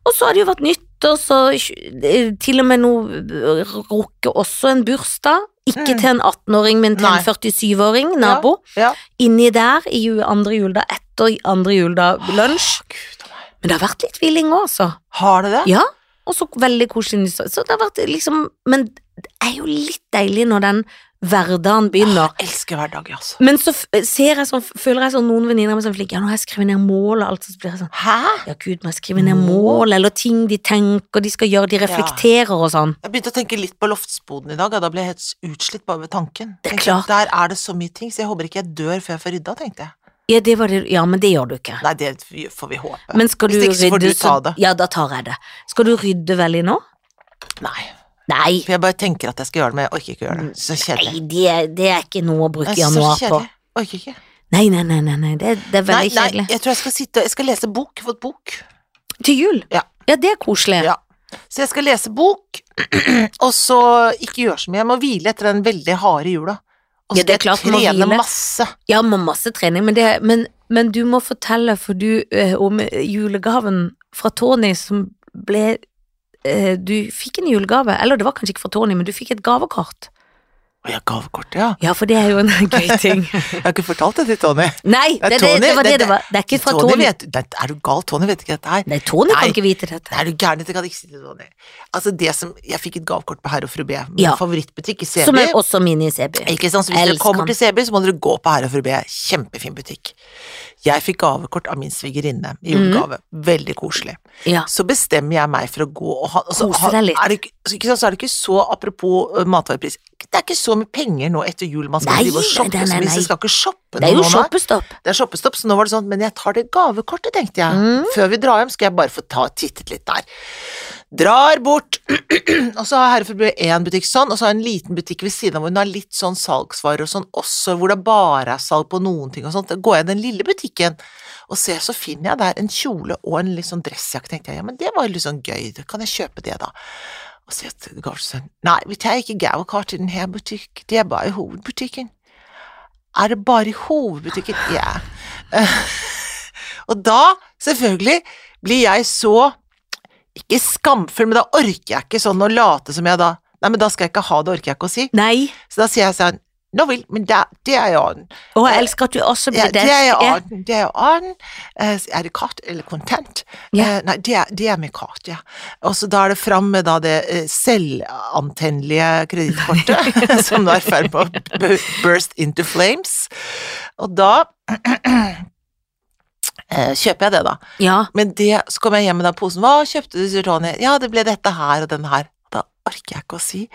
[SPEAKER 2] Og så har det jo vært nyttår, så eh, til og med nå eh, rukker også en bursdag. Ikke
[SPEAKER 1] Mm.
[SPEAKER 2] til en 18-åring, men til
[SPEAKER 1] Nei.
[SPEAKER 2] en 47-åring, nabo.
[SPEAKER 1] Ja.
[SPEAKER 2] Inni der i ju- andre juledag, etter andre juledag, lunsj.
[SPEAKER 1] Gud, å nei.
[SPEAKER 2] Men det har vært litt hviling òg, altså.
[SPEAKER 1] har det det?
[SPEAKER 2] Ja. Og så veldig koselig nyttår. Så det har vært liksom Men det er jo litt deilig når den hverdagen begynner.
[SPEAKER 1] Jeg elsker hverdag, jeg, altså.
[SPEAKER 2] Men så f- ser jeg sånn, føler jeg sånn noen venninner med sånn flink, ja, nå har jeg skrevet ned mål og alt, så blir jeg sånn
[SPEAKER 1] Hæ?
[SPEAKER 2] ja, gud, må jeg skrive ned
[SPEAKER 1] Mål?
[SPEAKER 2] mål, eller ting de tenker de skal gjøre, de reflekterer og sånn.
[SPEAKER 1] Jeg begynte å tenke litt på loftsboden i dag, og da ble jeg helt utslitt bare ved tanken.
[SPEAKER 2] Det er
[SPEAKER 1] Tenkte,
[SPEAKER 2] klart.
[SPEAKER 1] Der er det så mye ting, så jeg håper ikke jeg dør før jeg får rydda, tenkte jeg.
[SPEAKER 2] Ja, det var det, ja, men det gjør du ikke.
[SPEAKER 1] Nei, det får vi håpe.
[SPEAKER 2] Men skal du
[SPEAKER 1] Hvis ikke så får
[SPEAKER 2] rydde,
[SPEAKER 1] du ta det.
[SPEAKER 2] ja, da tar jeg det. Skal du rydde veldig nå?
[SPEAKER 1] Nei.
[SPEAKER 2] Nei,
[SPEAKER 1] For jeg bare tenker at jeg skal gjøre det, men jeg orker ikke å gjøre det. Så
[SPEAKER 2] Mm. nei
[SPEAKER 1] kjedelig.
[SPEAKER 2] det, er- det er ikke noe å bruke
[SPEAKER 1] Det er så
[SPEAKER 2] januar på.
[SPEAKER 1] kjedelig. Orker ikke.
[SPEAKER 2] Nei, nei, nei, nei, nei. Det, det er
[SPEAKER 1] Nei,
[SPEAKER 2] veldig
[SPEAKER 1] nei,
[SPEAKER 2] kjedelig.
[SPEAKER 1] jeg tror jeg skal sitte Jeg skal lese bok. Jeg har fått bok.
[SPEAKER 2] Til jul?
[SPEAKER 1] Ja.
[SPEAKER 2] Ja, det er koselig.
[SPEAKER 1] Ja. Så jeg skal lese bok, og så ikke gjøre så mye. Jeg må hvile etter den veldig harde jula. Og
[SPEAKER 2] Ja,
[SPEAKER 1] så
[SPEAKER 2] det er
[SPEAKER 1] skal
[SPEAKER 2] klart du
[SPEAKER 1] jeg
[SPEAKER 2] må
[SPEAKER 1] trene
[SPEAKER 2] hvile.
[SPEAKER 1] masse.
[SPEAKER 2] Ja, må masse trening, men, det, men, men du må fortelle for du eh, om julegaven fra Tony som ble eh, du fikk en julegave, eller det var kanskje ikke fra Tony, men du fikk et gavekort.
[SPEAKER 1] Å ja, gavekort, ja.
[SPEAKER 2] Ja, for det er jo en gøy ting.
[SPEAKER 1] Jeg har ikke fortalt det til Tony.
[SPEAKER 2] Nei,
[SPEAKER 1] Nei,
[SPEAKER 2] det, er det,
[SPEAKER 1] Tony,
[SPEAKER 2] det var det
[SPEAKER 1] det-
[SPEAKER 2] det var. Det er ikke fra
[SPEAKER 1] Tony
[SPEAKER 2] Tony.
[SPEAKER 1] vet, Nei, er du gal? Tony vet ikke dette her.
[SPEAKER 2] Nei, Tony
[SPEAKER 1] Nei.
[SPEAKER 2] kan ikke vite dette.
[SPEAKER 1] Er du gæren? Dette kan jeg ikke si til Tony. Altså, det som Jeg fikk et gavekort på Herr og Fru B, min
[SPEAKER 2] Ja.
[SPEAKER 1] favorittbutikk i
[SPEAKER 2] Som
[SPEAKER 1] Sebi.
[SPEAKER 2] er også min i CB.
[SPEAKER 1] Ikke sant? Så hvis dere
[SPEAKER 2] Elsker
[SPEAKER 1] kommer
[SPEAKER 2] han.
[SPEAKER 1] til Sebi, så må dere gå på Herre for B. Kjempefin butikk. Jeg fikk gavekort av min svigerinne i
[SPEAKER 2] Mm.
[SPEAKER 1] julegave. Veldig koselig.
[SPEAKER 2] Ja.
[SPEAKER 1] Så bestemmer jeg meg for å gå og ha og så
[SPEAKER 2] Kose
[SPEAKER 1] ha-
[SPEAKER 2] deg litt.
[SPEAKER 1] Er det, ikke- så ikke sant, så er det ikke så, apropos eh, matvarepris, det er ikke så mye penger nå etter jul man skal
[SPEAKER 2] Nei,
[SPEAKER 1] drive og shoppe
[SPEAKER 2] nei, nei,
[SPEAKER 1] så mye, så
[SPEAKER 2] nei.
[SPEAKER 1] jeg skal ikke shoppe
[SPEAKER 2] Det er
[SPEAKER 1] nå, nå,
[SPEAKER 2] jo
[SPEAKER 1] nei.
[SPEAKER 2] shoppestopp.
[SPEAKER 1] Det er shoppestopp, så nå var det sånn, men jeg tar det gavekortet, tenkte jeg. Før vi drar hjem, skal jeg bare få ta tittet litt der. Drar bort, og så har Herreforbundet én butikk sånn, og så har jeg en liten butikk ved siden av hvor hun har litt sånn salgsvarer og sånn også, hvor det bare er salg på noen ting og sånt. Da går jeg i den lille butikken og ser, så finner jeg der en kjole og en litt sånn dressjakke, tenkte jeg, ja, men det var jo litt sånn gøy, da kan jeg kjøpe det da? Og sier til Garsen, nei, vi tar ikke gavekort i denne butikken, det er bare i hovedbutikken. Er det bare i hovedbutikken? Ja. Og da, selvfølgelig, blir jeg så Ikke skamfull, men da orker jeg ikke sånn å late som jeg da Nei, men da skal jeg ikke ha det, orker jeg ikke å si.
[SPEAKER 2] Nei.
[SPEAKER 1] Så da sier jeg sånn Nå vil, men det, det er i orden.
[SPEAKER 2] Og jeg elsker at du også
[SPEAKER 1] Ja,
[SPEAKER 2] blir
[SPEAKER 1] det er i
[SPEAKER 2] Ja.
[SPEAKER 1] orden. Det er i orden. Eh, Er det kart eller kontant?
[SPEAKER 2] Ja.
[SPEAKER 1] Eh, Nei, det er, det er med kart, ja. Og så da er det fram med da det eh, selvantennelige kredittkortet, som nå er i ferd med å bu- burst into flames. Og da eh, kjøper jeg det, da.
[SPEAKER 2] Ja.
[SPEAKER 1] Men det, så kom jeg hjem med den posen. Hva kjøpte du, sier Tony? Ja, det ble dette her og den her. Da orker jeg ikke å si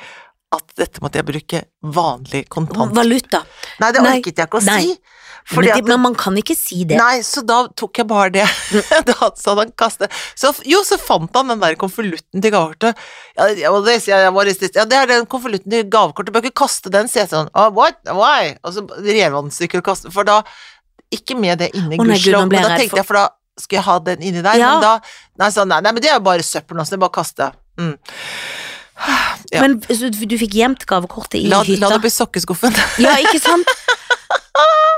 [SPEAKER 1] at dette måtte jeg bruke vanlig kontant.
[SPEAKER 2] Valuta.
[SPEAKER 1] Nei, det
[SPEAKER 2] Nei,
[SPEAKER 1] orket jeg ikke å
[SPEAKER 2] nei.
[SPEAKER 1] si.
[SPEAKER 2] Men,
[SPEAKER 1] Fordi
[SPEAKER 2] det,
[SPEAKER 1] at
[SPEAKER 2] men man kan ikke si det.
[SPEAKER 1] Nei, så da tok jeg bare det. da så hadde han kastet så, Jo, så fant han den der konvolutten til gavekortet. Ja, jeg var det, sier jeg, jeg var litt sist. ja, det er den konvolutten til gavekortet, du bør ikke kaste den, sier jeg sånn. Oh, what? Why? Og så rev han den i stykker og kastet For da Ikke med det inni
[SPEAKER 2] Å, nei, Gud, nå
[SPEAKER 1] gudskjelov,
[SPEAKER 2] ble jeg
[SPEAKER 1] men da
[SPEAKER 2] redd
[SPEAKER 1] tenkte
[SPEAKER 2] for-
[SPEAKER 1] jeg, for da skal jeg ha den inni der,
[SPEAKER 2] Ja.
[SPEAKER 1] men da Nei, sånn, nei, nei, men det er jo bare søppel nå, så det er bare å kaste. Mm. ja.
[SPEAKER 2] Men så du du fikk gjemt gavekortet i
[SPEAKER 1] La, la
[SPEAKER 2] hytta?
[SPEAKER 1] det bli sokkeskuffen.
[SPEAKER 2] Ja, ikke sant?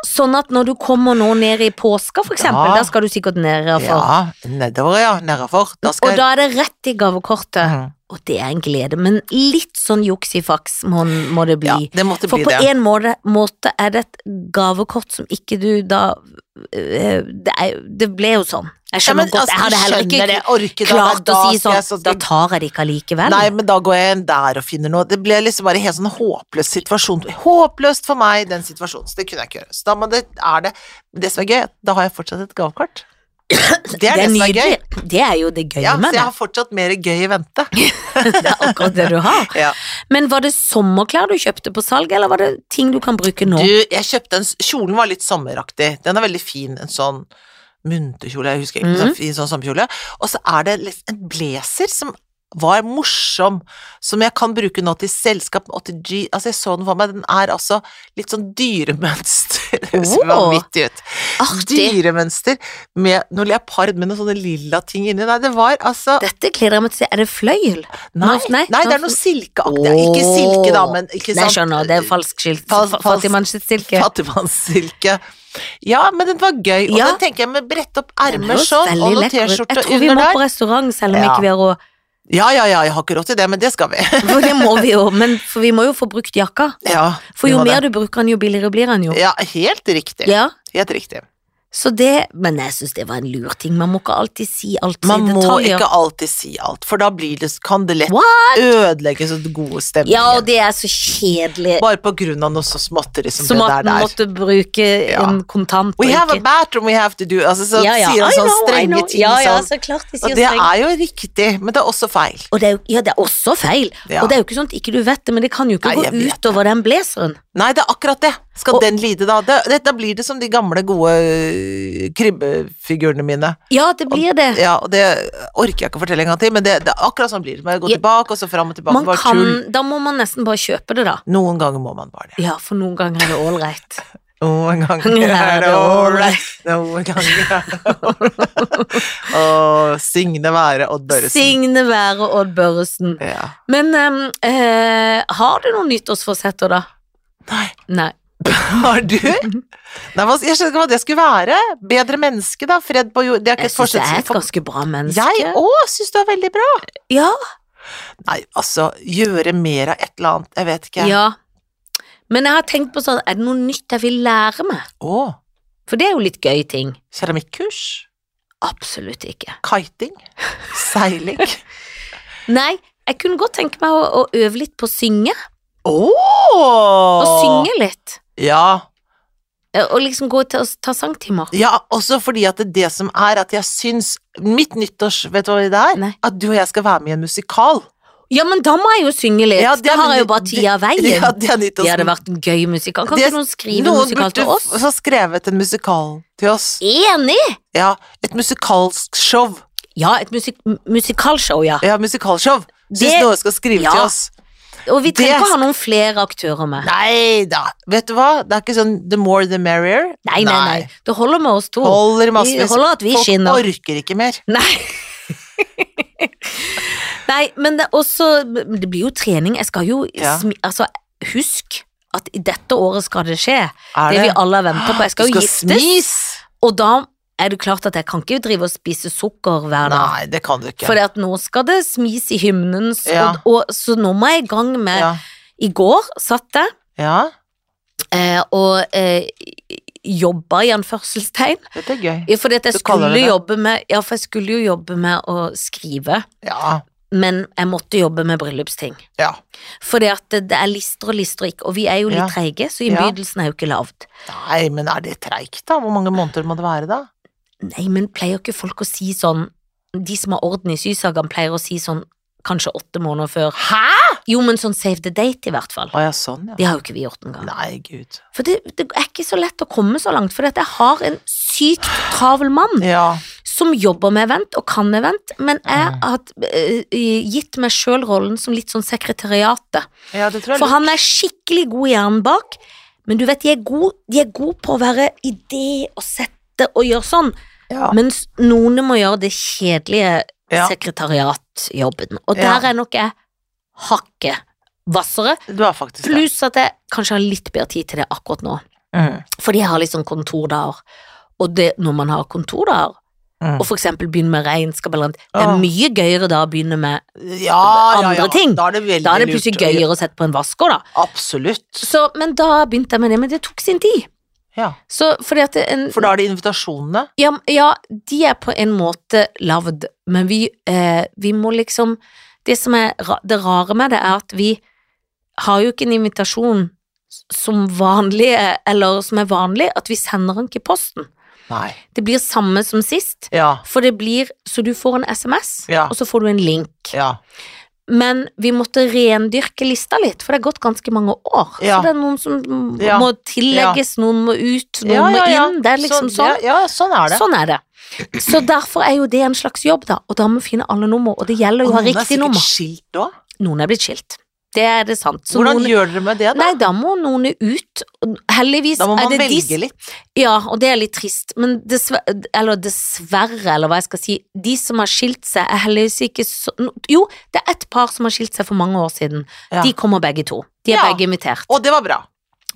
[SPEAKER 2] Sånn at når du kommer nå ned i påska, for eksempel,
[SPEAKER 1] Ja.
[SPEAKER 2] da skal du sikkert ned for.
[SPEAKER 1] Ja, nedover, ja. Nedafor. Da skal
[SPEAKER 2] Og da er det rett i gavekortet.
[SPEAKER 1] Mhm.
[SPEAKER 2] Og det er en glede, men litt sånn juks i faks må, må det bli.
[SPEAKER 1] Ja, det måtte
[SPEAKER 2] For
[SPEAKER 1] bli
[SPEAKER 2] på
[SPEAKER 1] det.
[SPEAKER 2] en måte, måte er det et gavekort som ikke du da eh, det, er, det ble jo sånn.
[SPEAKER 1] Ja,
[SPEAKER 2] Jeg
[SPEAKER 1] men,
[SPEAKER 2] skjønner
[SPEAKER 1] altså,
[SPEAKER 2] godt, jeg hadde heller
[SPEAKER 1] skjønner
[SPEAKER 2] ikke
[SPEAKER 1] det, orker da,
[SPEAKER 2] klart
[SPEAKER 1] da
[SPEAKER 2] å si
[SPEAKER 1] skal
[SPEAKER 2] sånn,
[SPEAKER 1] jeg så-
[SPEAKER 2] da tar jeg det ikke allikevel.
[SPEAKER 1] Nei, men da går jeg inn der og finner noe. Det ble liksom bare en helt sånn håpløs situasjon. Håpløst for meg, den situasjonen. Så det kunne jeg ikke gjøre. Så da må det, er det Det som er gøy, da har jeg fortsatt et gavekort. Det er det, som er gøy.
[SPEAKER 2] nydelig. Det er jo det gøye
[SPEAKER 1] Ja, så jeg
[SPEAKER 2] med det.
[SPEAKER 1] har fortsatt mer gøy i vente.
[SPEAKER 2] Det er akkurat det du har.
[SPEAKER 1] Ja.
[SPEAKER 2] Men var det sommerklær du kjøpte på salg, eller var det ting du kan bruke nå?
[SPEAKER 1] Du, jeg kjøpte en s- Kjolen var litt sommeraktig. Den er veldig fin. En sånn munterkjole, jeg husker ikke.
[SPEAKER 2] Mhm.
[SPEAKER 1] en Fin sånn sommerkjole. Og så er det litt- en blazer som var morsom, som jeg kan bruke nå til selskap og til G... Altså, jeg så den for meg. Den er altså litt sånn dyremønster. Det høres
[SPEAKER 2] Åh.
[SPEAKER 1] vanvittig ut.
[SPEAKER 2] Artig.
[SPEAKER 1] Dyremønster med noe leopard med noen sånne lilla ting inni. Nei, det var altså
[SPEAKER 2] Dette gleder jeg meg til å se. Er det fløyel?
[SPEAKER 1] Nei,
[SPEAKER 2] Nå-
[SPEAKER 1] nei, det er
[SPEAKER 2] nå-
[SPEAKER 1] noe silkeaktig. Ikke silke, da, men ikke
[SPEAKER 2] Nei,
[SPEAKER 1] sant.
[SPEAKER 2] jeg skjønner, det er falsk skilt.
[SPEAKER 1] Fal-
[SPEAKER 2] Fa-
[SPEAKER 1] falsk-
[SPEAKER 2] Fattigmannssilke.
[SPEAKER 1] Fattigmannssilke. Ja, men den var gøy. Og
[SPEAKER 2] Ja.
[SPEAKER 1] den tenker jeg med brette opp
[SPEAKER 2] Den
[SPEAKER 1] ermer
[SPEAKER 2] høres
[SPEAKER 1] sånn,
[SPEAKER 2] veldig
[SPEAKER 1] og noen
[SPEAKER 2] lekker ut.
[SPEAKER 1] T-skjorte
[SPEAKER 2] Jeg tror vi
[SPEAKER 1] under
[SPEAKER 2] må på
[SPEAKER 1] der.
[SPEAKER 2] restaurant, selv om
[SPEAKER 1] Ja.
[SPEAKER 2] ikke vi har råd.
[SPEAKER 1] Ja, ja, ja, jeg har ikke råd til det, men det skal vi.
[SPEAKER 2] For det må vi jo, men for vi må jo få brukt jakka.
[SPEAKER 1] Ja,
[SPEAKER 2] For
[SPEAKER 1] vi
[SPEAKER 2] jo
[SPEAKER 1] må
[SPEAKER 2] mer
[SPEAKER 1] det.
[SPEAKER 2] du bruker den, jo billigere blir den jo.
[SPEAKER 1] Ja, helt riktig.
[SPEAKER 2] Ja,
[SPEAKER 1] Helt riktig.
[SPEAKER 2] så det, Men jeg syns det var en lur ting. Man må ikke alltid si alt i
[SPEAKER 1] Man må
[SPEAKER 2] detaljer.
[SPEAKER 1] ikke alltid si alt, for da blir det, kan det lett
[SPEAKER 2] What?
[SPEAKER 1] ødelegge så den gode stemningen.
[SPEAKER 2] Ja, og det er så kjedelig.
[SPEAKER 1] Bare på grunn av noe så småtteri som,
[SPEAKER 2] Som
[SPEAKER 1] det
[SPEAKER 2] at
[SPEAKER 1] der
[SPEAKER 2] man
[SPEAKER 1] der.
[SPEAKER 2] måtte bruke
[SPEAKER 1] Ja.
[SPEAKER 2] en kontant. og
[SPEAKER 1] We have a
[SPEAKER 2] ikke-
[SPEAKER 1] bathroom we have to do. Altså, så
[SPEAKER 2] ja, ja.
[SPEAKER 1] sier han
[SPEAKER 2] I
[SPEAKER 1] sånne
[SPEAKER 2] know, I
[SPEAKER 1] strenge
[SPEAKER 2] know.
[SPEAKER 1] ting.
[SPEAKER 2] Ja, ja,
[SPEAKER 1] sånn.
[SPEAKER 2] så klart de sier
[SPEAKER 1] Og det
[SPEAKER 2] strenge.
[SPEAKER 1] er jo riktig, men det er også feil.
[SPEAKER 2] Og det er, jo- ja, det er også feil.
[SPEAKER 1] Ja.
[SPEAKER 2] Og det er jo ikke sånn at ikke du vet det, men det kan jo ikke
[SPEAKER 1] Nei, jeg
[SPEAKER 2] gå
[SPEAKER 1] vet
[SPEAKER 2] utover den blazeren.
[SPEAKER 1] Nei, det er akkurat det. Skal
[SPEAKER 2] Og-
[SPEAKER 1] den lide, da? Det, det, da blir det som de gamle, gode øh, kribbefigurene mine.
[SPEAKER 2] Ja, det blir det.
[SPEAKER 1] Ja, og det orker jeg ikke å fortelle en gang til, men det, det er akkurat sånn blir det. Man går
[SPEAKER 2] Ja.
[SPEAKER 1] tilbake, og så fram og tilbake.
[SPEAKER 2] Man
[SPEAKER 1] bare tull.
[SPEAKER 2] kan, da må man nesten bare kjøpe det, da.
[SPEAKER 1] Noen ganger må man bare det.
[SPEAKER 2] Ja, for noen ganger er det ålreit.
[SPEAKER 1] Noen ganger
[SPEAKER 2] Ja,
[SPEAKER 1] er
[SPEAKER 2] det
[SPEAKER 1] det
[SPEAKER 2] er
[SPEAKER 1] ålreit, noen ganger er det ålreit. Å, signe være Odd Børresen.
[SPEAKER 2] Signe være Odd Børresen.
[SPEAKER 1] Ja.
[SPEAKER 2] Men ehm, eh, har du noen nyttårsforsetter, da?
[SPEAKER 1] Nei,
[SPEAKER 2] Nei.
[SPEAKER 1] Har du? Nei, hva- jeg skjønner ikke hva det skulle være. Bedre menneske, da. Fred på jord. Det er ikke
[SPEAKER 2] Jeg
[SPEAKER 1] et
[SPEAKER 2] syns jeg
[SPEAKER 1] forskjell-
[SPEAKER 2] er et ganske bra
[SPEAKER 1] Jeg
[SPEAKER 2] menneske.
[SPEAKER 1] òg syns du er veldig bra.
[SPEAKER 2] Ja,
[SPEAKER 1] Nei, altså, gjøre mer av et eller annet, jeg vet ikke.
[SPEAKER 2] ja. Men jeg har tenkt på sånn, er det noe nytt jeg vil lære meg?
[SPEAKER 1] Å,
[SPEAKER 2] For det er jo litt gøy ting.
[SPEAKER 1] keramikkurs,
[SPEAKER 2] Absolutt ikke.
[SPEAKER 1] kiting, seiling.
[SPEAKER 2] Nei, jeg kunne godt tenke meg å, å øve litt på å synge.
[SPEAKER 1] Å!
[SPEAKER 2] Å synge litt.
[SPEAKER 1] Ja.
[SPEAKER 2] Eh, Og liksom gå til å s- ta sangtimer.
[SPEAKER 1] ja, også fordi at det, er det som er at jeg syns Mitt nyttårs, vet du hva det er?
[SPEAKER 2] Nei.
[SPEAKER 1] At du og jeg skal være med i en musikal.
[SPEAKER 2] Ja, men da må jeg jo synge litt.
[SPEAKER 1] Ja, det-
[SPEAKER 2] da har jeg jo bare
[SPEAKER 1] det-
[SPEAKER 2] tida av veien.
[SPEAKER 1] Ja, det er
[SPEAKER 2] det hadde
[SPEAKER 1] nyttårs...
[SPEAKER 2] vært en gøy musikal. Kan
[SPEAKER 1] Det-
[SPEAKER 2] ikke noen skrive en
[SPEAKER 1] Noen
[SPEAKER 2] musikal til
[SPEAKER 1] burde
[SPEAKER 2] oss?
[SPEAKER 1] f- ha skrevet en musikal til oss.
[SPEAKER 2] Enig!
[SPEAKER 1] Ja, et musikalsk show.
[SPEAKER 2] Ja, et musik musikalshow, ja.
[SPEAKER 1] Ja, musikalshow. Syns
[SPEAKER 2] Det-
[SPEAKER 1] noen skal skrive
[SPEAKER 2] Ja.
[SPEAKER 1] til oss.
[SPEAKER 2] Og vi
[SPEAKER 1] Det-
[SPEAKER 2] trenger ikke å ha noen flere aktører med.
[SPEAKER 1] Nei da. Vet du hva, det er ikke sånn the more the merrier.
[SPEAKER 2] Nei, nei, nei. Det holder med oss to.
[SPEAKER 1] Holder i
[SPEAKER 2] Vi
[SPEAKER 1] massevis.
[SPEAKER 2] holder at vi
[SPEAKER 1] Folk
[SPEAKER 2] skinner.
[SPEAKER 1] orker ikke mer.
[SPEAKER 2] Nei. Nei, men det er også Det blir jo trening. Jeg skal jo
[SPEAKER 1] Ja.
[SPEAKER 2] smi, Altså, husk at i dette året skal det skje.
[SPEAKER 1] Er
[SPEAKER 2] Det vi alle har venta på. Jeg skal
[SPEAKER 1] Du
[SPEAKER 2] jo giftes,
[SPEAKER 1] smis.
[SPEAKER 2] og da er det klart at jeg kan ikke drive og spise sukker hver dag.
[SPEAKER 1] Nei, det kan du ikke.
[SPEAKER 2] For nå skal det smis i hymnen, så,
[SPEAKER 1] Ja.
[SPEAKER 2] og, og, så nå må jeg i gang med
[SPEAKER 1] ja.
[SPEAKER 2] I går satt jeg
[SPEAKER 1] ja,
[SPEAKER 2] eh, og eh, jobba i anførselstegn.
[SPEAKER 1] dette er gøy.
[SPEAKER 2] Ja, fordi at jeg
[SPEAKER 1] Du kaller
[SPEAKER 2] skulle
[SPEAKER 1] det det?
[SPEAKER 2] jobbe med Ja, for jeg skulle jo jobbe med å skrive.
[SPEAKER 1] Ja,
[SPEAKER 2] Men jeg måtte jobbe med bryllupsting.
[SPEAKER 1] ja.
[SPEAKER 2] Fordi at det, det er lister og lister, og ikke, og vi er jo litt
[SPEAKER 1] Ja.
[SPEAKER 2] treige, så innbydelsen er jo ikke lavt.
[SPEAKER 1] Nei, men er det treigt, da? Hvor mange måneder må det være, da?
[SPEAKER 2] Nei, men pleier ikke folk å si sånn De som har orden i sysakene, pleier å si sånn kanskje åtte måneder før.
[SPEAKER 1] Hæ?!
[SPEAKER 2] Jo, men sånn save the date, i hvert fall.
[SPEAKER 1] Å ja, sånn, ja.
[SPEAKER 2] Det har jo ikke vi gjort engang.
[SPEAKER 1] Nei, gud.
[SPEAKER 2] For det, det er ikke så lett å komme så langt, for jeg har en sykt travel mann
[SPEAKER 1] Ja.
[SPEAKER 2] som jobber med event og kan event, men jeg
[SPEAKER 1] Mm.
[SPEAKER 2] har eh, gitt meg sjøl rollen som litt sånn sekretariatet.
[SPEAKER 1] ja, det tror jeg
[SPEAKER 2] For han er skikkelig god i hjernen bak, men du vet, de er gode god på å være idé og sette og gjøre sånn,
[SPEAKER 1] Ja.
[SPEAKER 2] mens noen må gjøre det kjedelige
[SPEAKER 1] Ja.
[SPEAKER 2] sekretariatjobben. Og
[SPEAKER 1] Ja.
[SPEAKER 2] der er nok jeg hakket hvassere,
[SPEAKER 1] Du er faktisk det.
[SPEAKER 2] pluss at jeg kanskje har litt bedre tid til det akkurat nå.
[SPEAKER 1] Mm.
[SPEAKER 2] Fordi jeg har litt sånn kontordager. Og det, når man har kontordager,
[SPEAKER 1] Mm.
[SPEAKER 2] og for eksempel begynne med regnskap eller annet, det er
[SPEAKER 1] Åh.
[SPEAKER 2] mye gøyere da å begynne med
[SPEAKER 1] Ja, ja, ja.
[SPEAKER 2] andre ting.
[SPEAKER 1] Da er det veldig
[SPEAKER 2] Da er det
[SPEAKER 1] lurt
[SPEAKER 2] plutselig
[SPEAKER 1] å gjøre-
[SPEAKER 2] gøyere å sette på en vasker, da.
[SPEAKER 1] Absolutt.
[SPEAKER 2] Så, men da begynte jeg med det, men det tok sin tid.
[SPEAKER 1] Ja.
[SPEAKER 2] Så fordi at det er en,
[SPEAKER 1] For da er det invitasjonene.
[SPEAKER 2] ja, ja, de er på en måte lagd, men vi, eh, vi må liksom Det som er ra- det rare med det, er at vi har jo ikke en invitasjon s- som vanlige, eller som er vanlig, at vi sender den ikke i posten.
[SPEAKER 1] Nei.
[SPEAKER 2] Det blir samme som sist,
[SPEAKER 1] Ja.
[SPEAKER 2] for det blir Så du får en SMS,
[SPEAKER 1] Ja.
[SPEAKER 2] og så får du en link.
[SPEAKER 1] Ja.
[SPEAKER 2] Men vi måtte rendyrke lista litt, for det har gått ganske mange år.
[SPEAKER 1] Ja.
[SPEAKER 2] Så det er noen som m-
[SPEAKER 1] Ja.
[SPEAKER 2] må tillegges, noen må ut, noen
[SPEAKER 1] ja, ja, ja.
[SPEAKER 2] må inn. Det er liksom sånn.
[SPEAKER 1] Ja, ja, sånn er det.
[SPEAKER 2] Sånn er det. Så derfor er jo det en slags jobb, da. Og da må vi finne alle nummer, og det gjelder jo å ha
[SPEAKER 1] er
[SPEAKER 2] riktig
[SPEAKER 1] sikkert
[SPEAKER 2] nummer.
[SPEAKER 1] skilt òg.
[SPEAKER 2] Noen er blitt skilt. Det er det sant. Så
[SPEAKER 1] Hvordan
[SPEAKER 2] noen,
[SPEAKER 1] gjør dere med det, da?
[SPEAKER 2] Nei, da må noen ut. Og Heldigvis
[SPEAKER 1] da må
[SPEAKER 2] er
[SPEAKER 1] man
[SPEAKER 2] det
[SPEAKER 1] velge
[SPEAKER 2] de
[SPEAKER 1] litt.
[SPEAKER 2] Ja, og det er litt trist, men dessverre, eller dessverre, eller hva jeg skal si, de som har skilt seg, er heldigvis ikke så Jo, det er ett par som har skilt seg for mange år siden.
[SPEAKER 1] Ja.
[SPEAKER 2] De kommer begge to. De er
[SPEAKER 1] Ja.
[SPEAKER 2] begge invitert.
[SPEAKER 1] Og det var bra.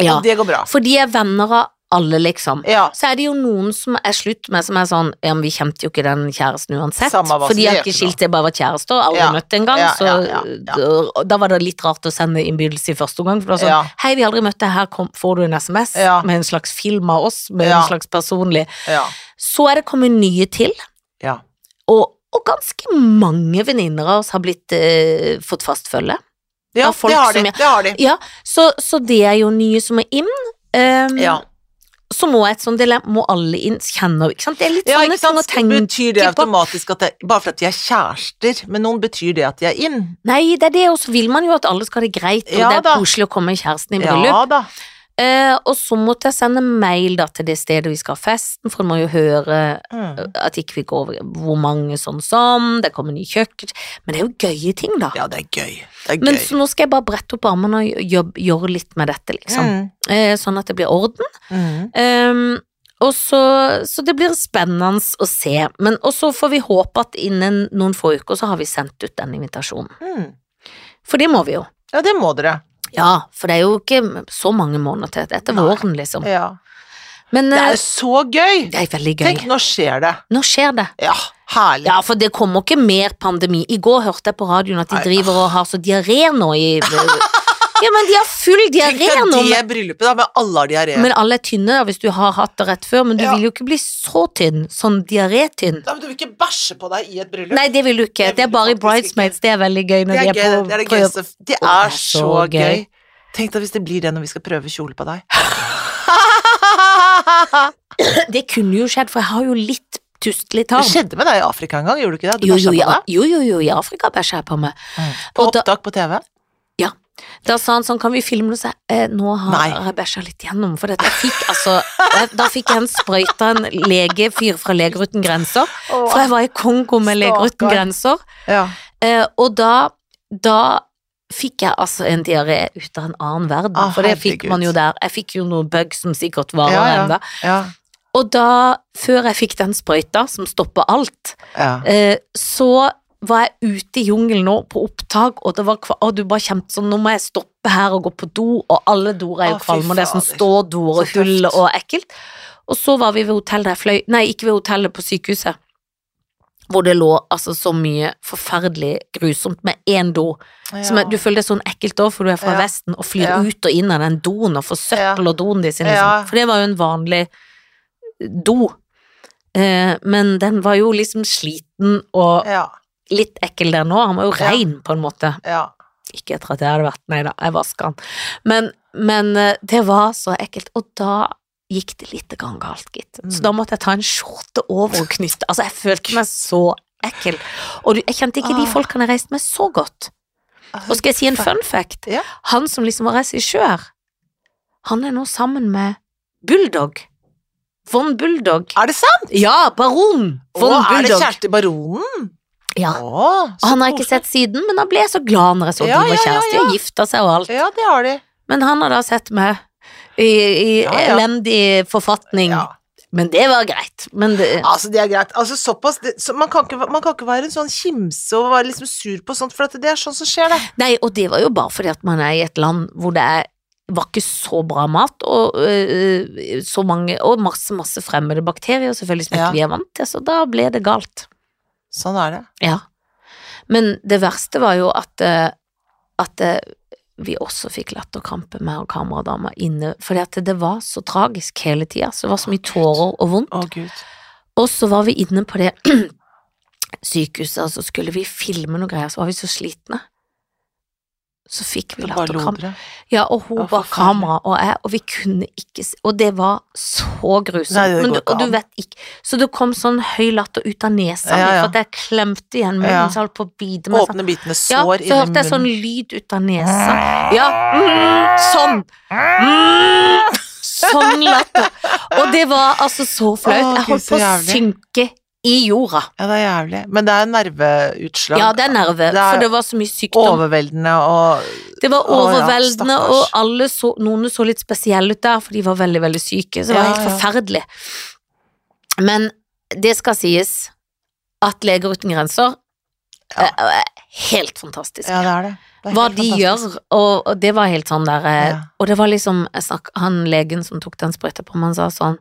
[SPEAKER 2] Ja.
[SPEAKER 1] Og det går bra.
[SPEAKER 2] For de er venner av alle, liksom.
[SPEAKER 1] Ja.
[SPEAKER 2] Så er det jo noen som er slutt med, som er sånn Ja, men vi kjente jo ikke den kjæresten uansett.
[SPEAKER 1] Samme hva
[SPEAKER 2] For de
[SPEAKER 1] som
[SPEAKER 2] har
[SPEAKER 1] det
[SPEAKER 2] ikke
[SPEAKER 1] heter nå.
[SPEAKER 2] skilt seg, bare vært kjærester, aldri
[SPEAKER 1] Ja.
[SPEAKER 2] møtt engang.
[SPEAKER 1] Ja,
[SPEAKER 2] så
[SPEAKER 1] ja, ja, ja.
[SPEAKER 2] Da, da var det litt rart å sende innbydelse i første omgang. For det var sånn
[SPEAKER 1] Ja.
[SPEAKER 2] Hei, vi har aldri møtt deg, her kom, får du en SMS
[SPEAKER 1] Ja.
[SPEAKER 2] med en slags film av oss, med
[SPEAKER 1] Ja.
[SPEAKER 2] en slags personlig
[SPEAKER 1] Ja.
[SPEAKER 2] Så er det kommet nye til,
[SPEAKER 1] ja.
[SPEAKER 2] og, og ganske mange venninner av oss har blitt eh, fått fast følge.
[SPEAKER 1] ja
[SPEAKER 2] Av folk
[SPEAKER 1] det har de.
[SPEAKER 2] som jeg-
[SPEAKER 1] Det har de.
[SPEAKER 2] Ja, så, så det er jo nye som er inn. Um,
[SPEAKER 1] Ja.
[SPEAKER 2] Så må et sånt dilemma Må alle inn kjenne ikke sant? Det er litt sånn
[SPEAKER 1] Ja,
[SPEAKER 2] sånne
[SPEAKER 1] ikke sant?
[SPEAKER 2] ting å tenke
[SPEAKER 1] Betyr det
[SPEAKER 2] på.
[SPEAKER 1] automatisk at det, Bare fordi at de er kjærester med noen, betyr det at de er inn?
[SPEAKER 2] Nei, det er det, og så vil man jo at alle skal ha det greit, og
[SPEAKER 1] Ja
[SPEAKER 2] det er
[SPEAKER 1] da.
[SPEAKER 2] koselig å komme kjæresten i bryllup.
[SPEAKER 1] Ja da.
[SPEAKER 2] Eh, og så måtte jeg sende mail da til det stedet vi skal ha festen, for man må jo høre
[SPEAKER 1] Mm.
[SPEAKER 2] at ikke vi går over hvor mange sånn som, det kommer ny kjøkken Men det er jo gøye ting, da.
[SPEAKER 1] Ja, det er gøy. Det er gøy.
[SPEAKER 2] Men så nå skal jeg bare brette opp armene og jobbe, gjøre litt med dette, liksom.
[SPEAKER 1] Mm.
[SPEAKER 2] Eh, sånn at det blir orden.
[SPEAKER 1] Mm.
[SPEAKER 2] Ehm, og så, så det blir spennende å se. Men og så får vi håpe at innen noen få uker så har vi sendt ut den invitasjonen.
[SPEAKER 1] Mm.
[SPEAKER 2] For det må vi jo.
[SPEAKER 1] Ja, det må dere.
[SPEAKER 2] Ja, for det er jo ikke så mange måneder til. Etter
[SPEAKER 1] Nei.
[SPEAKER 2] våren, liksom.
[SPEAKER 1] Ja.
[SPEAKER 2] Men
[SPEAKER 1] Det er
[SPEAKER 2] eh,
[SPEAKER 1] jo så gøy!
[SPEAKER 2] det er veldig gøy.
[SPEAKER 1] Tenk, nå skjer det.
[SPEAKER 2] Nå skjer det.
[SPEAKER 1] Ja, herlig.
[SPEAKER 2] Ja, for det kommer ikke mer pandemi. I går hørte jeg på radioen at de
[SPEAKER 1] Nei.
[SPEAKER 2] driver og har så diaré nå i Ja, men de har full
[SPEAKER 1] Tenk
[SPEAKER 2] diaré
[SPEAKER 1] deg
[SPEAKER 2] nå.
[SPEAKER 1] det bryllupet, da, med alle har diaré.
[SPEAKER 2] Men alle er tynne da, hvis du har hatt det rett før, men du
[SPEAKER 1] Ja.
[SPEAKER 2] vil jo ikke bli så tynn. Sånn diaré-tynn.
[SPEAKER 1] Ja, men du vil ikke bæsje på deg i et bryllup.
[SPEAKER 2] Nei, det vil du ikke.
[SPEAKER 1] Det
[SPEAKER 2] Det er
[SPEAKER 1] vil du
[SPEAKER 2] bare i
[SPEAKER 1] faktisk ikke.
[SPEAKER 2] bridesmaids. Det er veldig gøy
[SPEAKER 1] det
[SPEAKER 2] når
[SPEAKER 1] er,
[SPEAKER 2] de
[SPEAKER 1] gøy,
[SPEAKER 2] er
[SPEAKER 1] det er det
[SPEAKER 2] på prøve.
[SPEAKER 1] gøyeste. Det
[SPEAKER 2] Å,
[SPEAKER 1] er så gøy. Tenk deg hvis det blir det når vi skal prøve kjole på deg.
[SPEAKER 2] Det kunne jo skjedd, for jeg har jo litt tustelig
[SPEAKER 1] Det
[SPEAKER 2] tarm.
[SPEAKER 1] skjedde med deg i Afrika en gang, gjorde du ikke det? Du
[SPEAKER 2] Jo,
[SPEAKER 1] bæsja
[SPEAKER 2] jo,
[SPEAKER 1] på
[SPEAKER 2] ja.
[SPEAKER 1] deg.
[SPEAKER 2] jo, jo, jo, i Afrika bæsja jeg på meg.
[SPEAKER 1] På
[SPEAKER 2] Og da-
[SPEAKER 1] opptak på TV.
[SPEAKER 2] Da sa han sånn, kan vi filme det? Så jeg, eh, nå har
[SPEAKER 1] Nei.
[SPEAKER 2] jeg bæsja litt gjennom, for dette jeg fikk altså jeg- Da fikk jeg en sprøyte av en legefyr fra Leger uten grenser, for jeg var i Kongo med Leger uten
[SPEAKER 1] Stakkar.
[SPEAKER 2] grenser,
[SPEAKER 1] Ja.
[SPEAKER 2] eh, og da, da fikk jeg altså en diaré ut av en annen verden,
[SPEAKER 1] Ah,
[SPEAKER 2] for det fikk
[SPEAKER 1] herregud.
[SPEAKER 2] man jo der. Jeg fikk jo noen bug som sikkert varer
[SPEAKER 1] Ja, ja.
[SPEAKER 2] ennå.
[SPEAKER 1] Ja.
[SPEAKER 2] Og da, før jeg fikk den sprøyta som stopper alt,
[SPEAKER 1] ja.
[SPEAKER 2] Eh, så var jeg ute i jungelen nå på opptak, og det var kva og du bare kjente sånn, nå må jeg stoppe her og gå på do, og alle doer er
[SPEAKER 1] Å,
[SPEAKER 2] jo
[SPEAKER 1] fy
[SPEAKER 2] kvalme, og det er sånn
[SPEAKER 1] fader.
[SPEAKER 2] stådoer og
[SPEAKER 1] Så tøft.
[SPEAKER 2] hull og ekkelt. Og så var vi ved hotellet der jeg fløy, nei, ikke ved hotellet, på sykehuset, hvor det lå altså så mye forferdelig grusomt med én do. Som er, du føler det er sånn ekkelt òg, for du er fra
[SPEAKER 1] Ja.
[SPEAKER 2] Vesten og flyr
[SPEAKER 1] Ja.
[SPEAKER 2] ut og inn av den doen og får søppel og doen de sine.
[SPEAKER 1] Ja.
[SPEAKER 2] Liksom. For det var jo en vanlig do. Eh, men den var jo liksom sliten og
[SPEAKER 1] Ja,
[SPEAKER 2] litt ekkel der nå. Han var jo
[SPEAKER 1] Ja.
[SPEAKER 2] rein, på en måte.
[SPEAKER 1] ja.
[SPEAKER 2] Ikke etter at jeg hadde vært Nei da, jeg vaska han. Men, men eh, det var så ekkelt. Og da gikk det lite grann galt, gitt.
[SPEAKER 1] Mm.
[SPEAKER 2] Så da måtte jeg ta en skjorte over og knytte. Altså, jeg følte meg så ekkel. Og du, jeg kjente ikke de
[SPEAKER 1] Ah.
[SPEAKER 2] folkene jeg reiste med, så godt. Og skal jeg si en fun fact?
[SPEAKER 1] Ja.
[SPEAKER 2] Han som liksom var regissør, han er nå sammen med Bulldog. Von Bulldog.
[SPEAKER 1] Er det sant?
[SPEAKER 2] Ja, baron
[SPEAKER 1] Å,
[SPEAKER 2] von
[SPEAKER 1] er det
[SPEAKER 2] Bulldog.
[SPEAKER 1] kjæreste i Baronen?
[SPEAKER 2] Ja.
[SPEAKER 1] Å,
[SPEAKER 2] Og
[SPEAKER 1] så
[SPEAKER 2] Ah. han har jeg ikke
[SPEAKER 1] koselig.
[SPEAKER 2] sett siden, men da ble jeg så glad når jeg så
[SPEAKER 1] Ja,
[SPEAKER 2] de
[SPEAKER 1] ja,
[SPEAKER 2] var
[SPEAKER 1] ja,
[SPEAKER 2] kjærester og gifta seg og alt.
[SPEAKER 1] Ja, det har de.
[SPEAKER 2] Men han har da sett meg i, i
[SPEAKER 1] Ja, ja.
[SPEAKER 2] elendig forfatning.
[SPEAKER 1] Ja.
[SPEAKER 2] Men det var greit. Men det,
[SPEAKER 1] Altså, det er greit. Altså, såpass det, så man, kan ikke, man kan ikke være en sånn kimse og være liksom sur på sånt, for at det er sånn som skjer, det.
[SPEAKER 2] nei, og det var jo bare fordi at man er i et land hvor det er var ikke så bra mat, og, øh, øh, så mange, og masse masse fremmede bakterier selvfølgelig som ikke
[SPEAKER 1] Ja.
[SPEAKER 2] vi er vant til, så da ble det galt.
[SPEAKER 1] Sånn er det.
[SPEAKER 2] Ja. Men det verste var jo at, eh, at eh, vi også fikk latterkrampe, meg og kameradama, inne. Fordi at det var så tragisk hele tida. Så det var så mye tårer og vondt.
[SPEAKER 1] Å, gud.
[SPEAKER 2] Og så var vi inne på det sykehuset, og så skulle vi filme noe greier, så var vi så slitne. Så fikk vi
[SPEAKER 1] Det bare lo
[SPEAKER 2] latterkrampe.
[SPEAKER 1] dere.
[SPEAKER 2] Ja, og hun
[SPEAKER 1] Å,
[SPEAKER 2] bar
[SPEAKER 1] forferdelig.
[SPEAKER 2] kamera, og jeg, og vi kunne ikke se Og det var så grusomt.
[SPEAKER 1] Nei, det
[SPEAKER 2] men
[SPEAKER 1] går
[SPEAKER 2] du,
[SPEAKER 1] ikke
[SPEAKER 2] og du
[SPEAKER 1] an.
[SPEAKER 2] vet ikke Så det kom sånn høy latter ut av nesa
[SPEAKER 1] Ja,
[SPEAKER 2] mi,
[SPEAKER 1] ja.
[SPEAKER 2] for at jeg klemte igjen munnen,
[SPEAKER 1] Ja.
[SPEAKER 2] så jeg holdt på å bite meg. sånn.
[SPEAKER 1] Åpne bitene
[SPEAKER 2] Ja,
[SPEAKER 1] sår
[SPEAKER 2] så hørte
[SPEAKER 1] inni
[SPEAKER 2] jeg sånn
[SPEAKER 1] munnen.
[SPEAKER 2] lyd ut av nesa. Ja, mm, sånn. Mm, sånn latter. Og det var altså så flaut.
[SPEAKER 1] Å, Gud,
[SPEAKER 2] Jeg holdt
[SPEAKER 1] så
[SPEAKER 2] på å
[SPEAKER 1] jævlig.
[SPEAKER 2] synke i jorda.
[SPEAKER 1] Ja, det er jævlig. Men det er nerveutslag.
[SPEAKER 2] Ja, det er nerve,
[SPEAKER 1] Det er
[SPEAKER 2] for det var så mye sykdom.
[SPEAKER 1] Overveldende og
[SPEAKER 2] Det var
[SPEAKER 1] Å, ja,
[SPEAKER 2] overveldende,
[SPEAKER 1] stakkars.
[SPEAKER 2] og alle så, noen så litt spesielle ut der, for de var veldig, veldig syke. Så det var
[SPEAKER 1] Ja,
[SPEAKER 2] helt
[SPEAKER 1] ja.
[SPEAKER 2] forferdelig. Men det skal sies at Leger uten grenser
[SPEAKER 1] Ja.
[SPEAKER 2] eh, er helt fantastisk.
[SPEAKER 1] Ja, det er det. det er
[SPEAKER 2] hva
[SPEAKER 1] helt
[SPEAKER 2] de gjør,
[SPEAKER 1] fantastisk.
[SPEAKER 2] og, og det var helt sånn der eh,
[SPEAKER 1] Ja.
[SPEAKER 2] Og det var liksom jeg snakk, Han legen som tok den sprøyta på meg, han sa sånn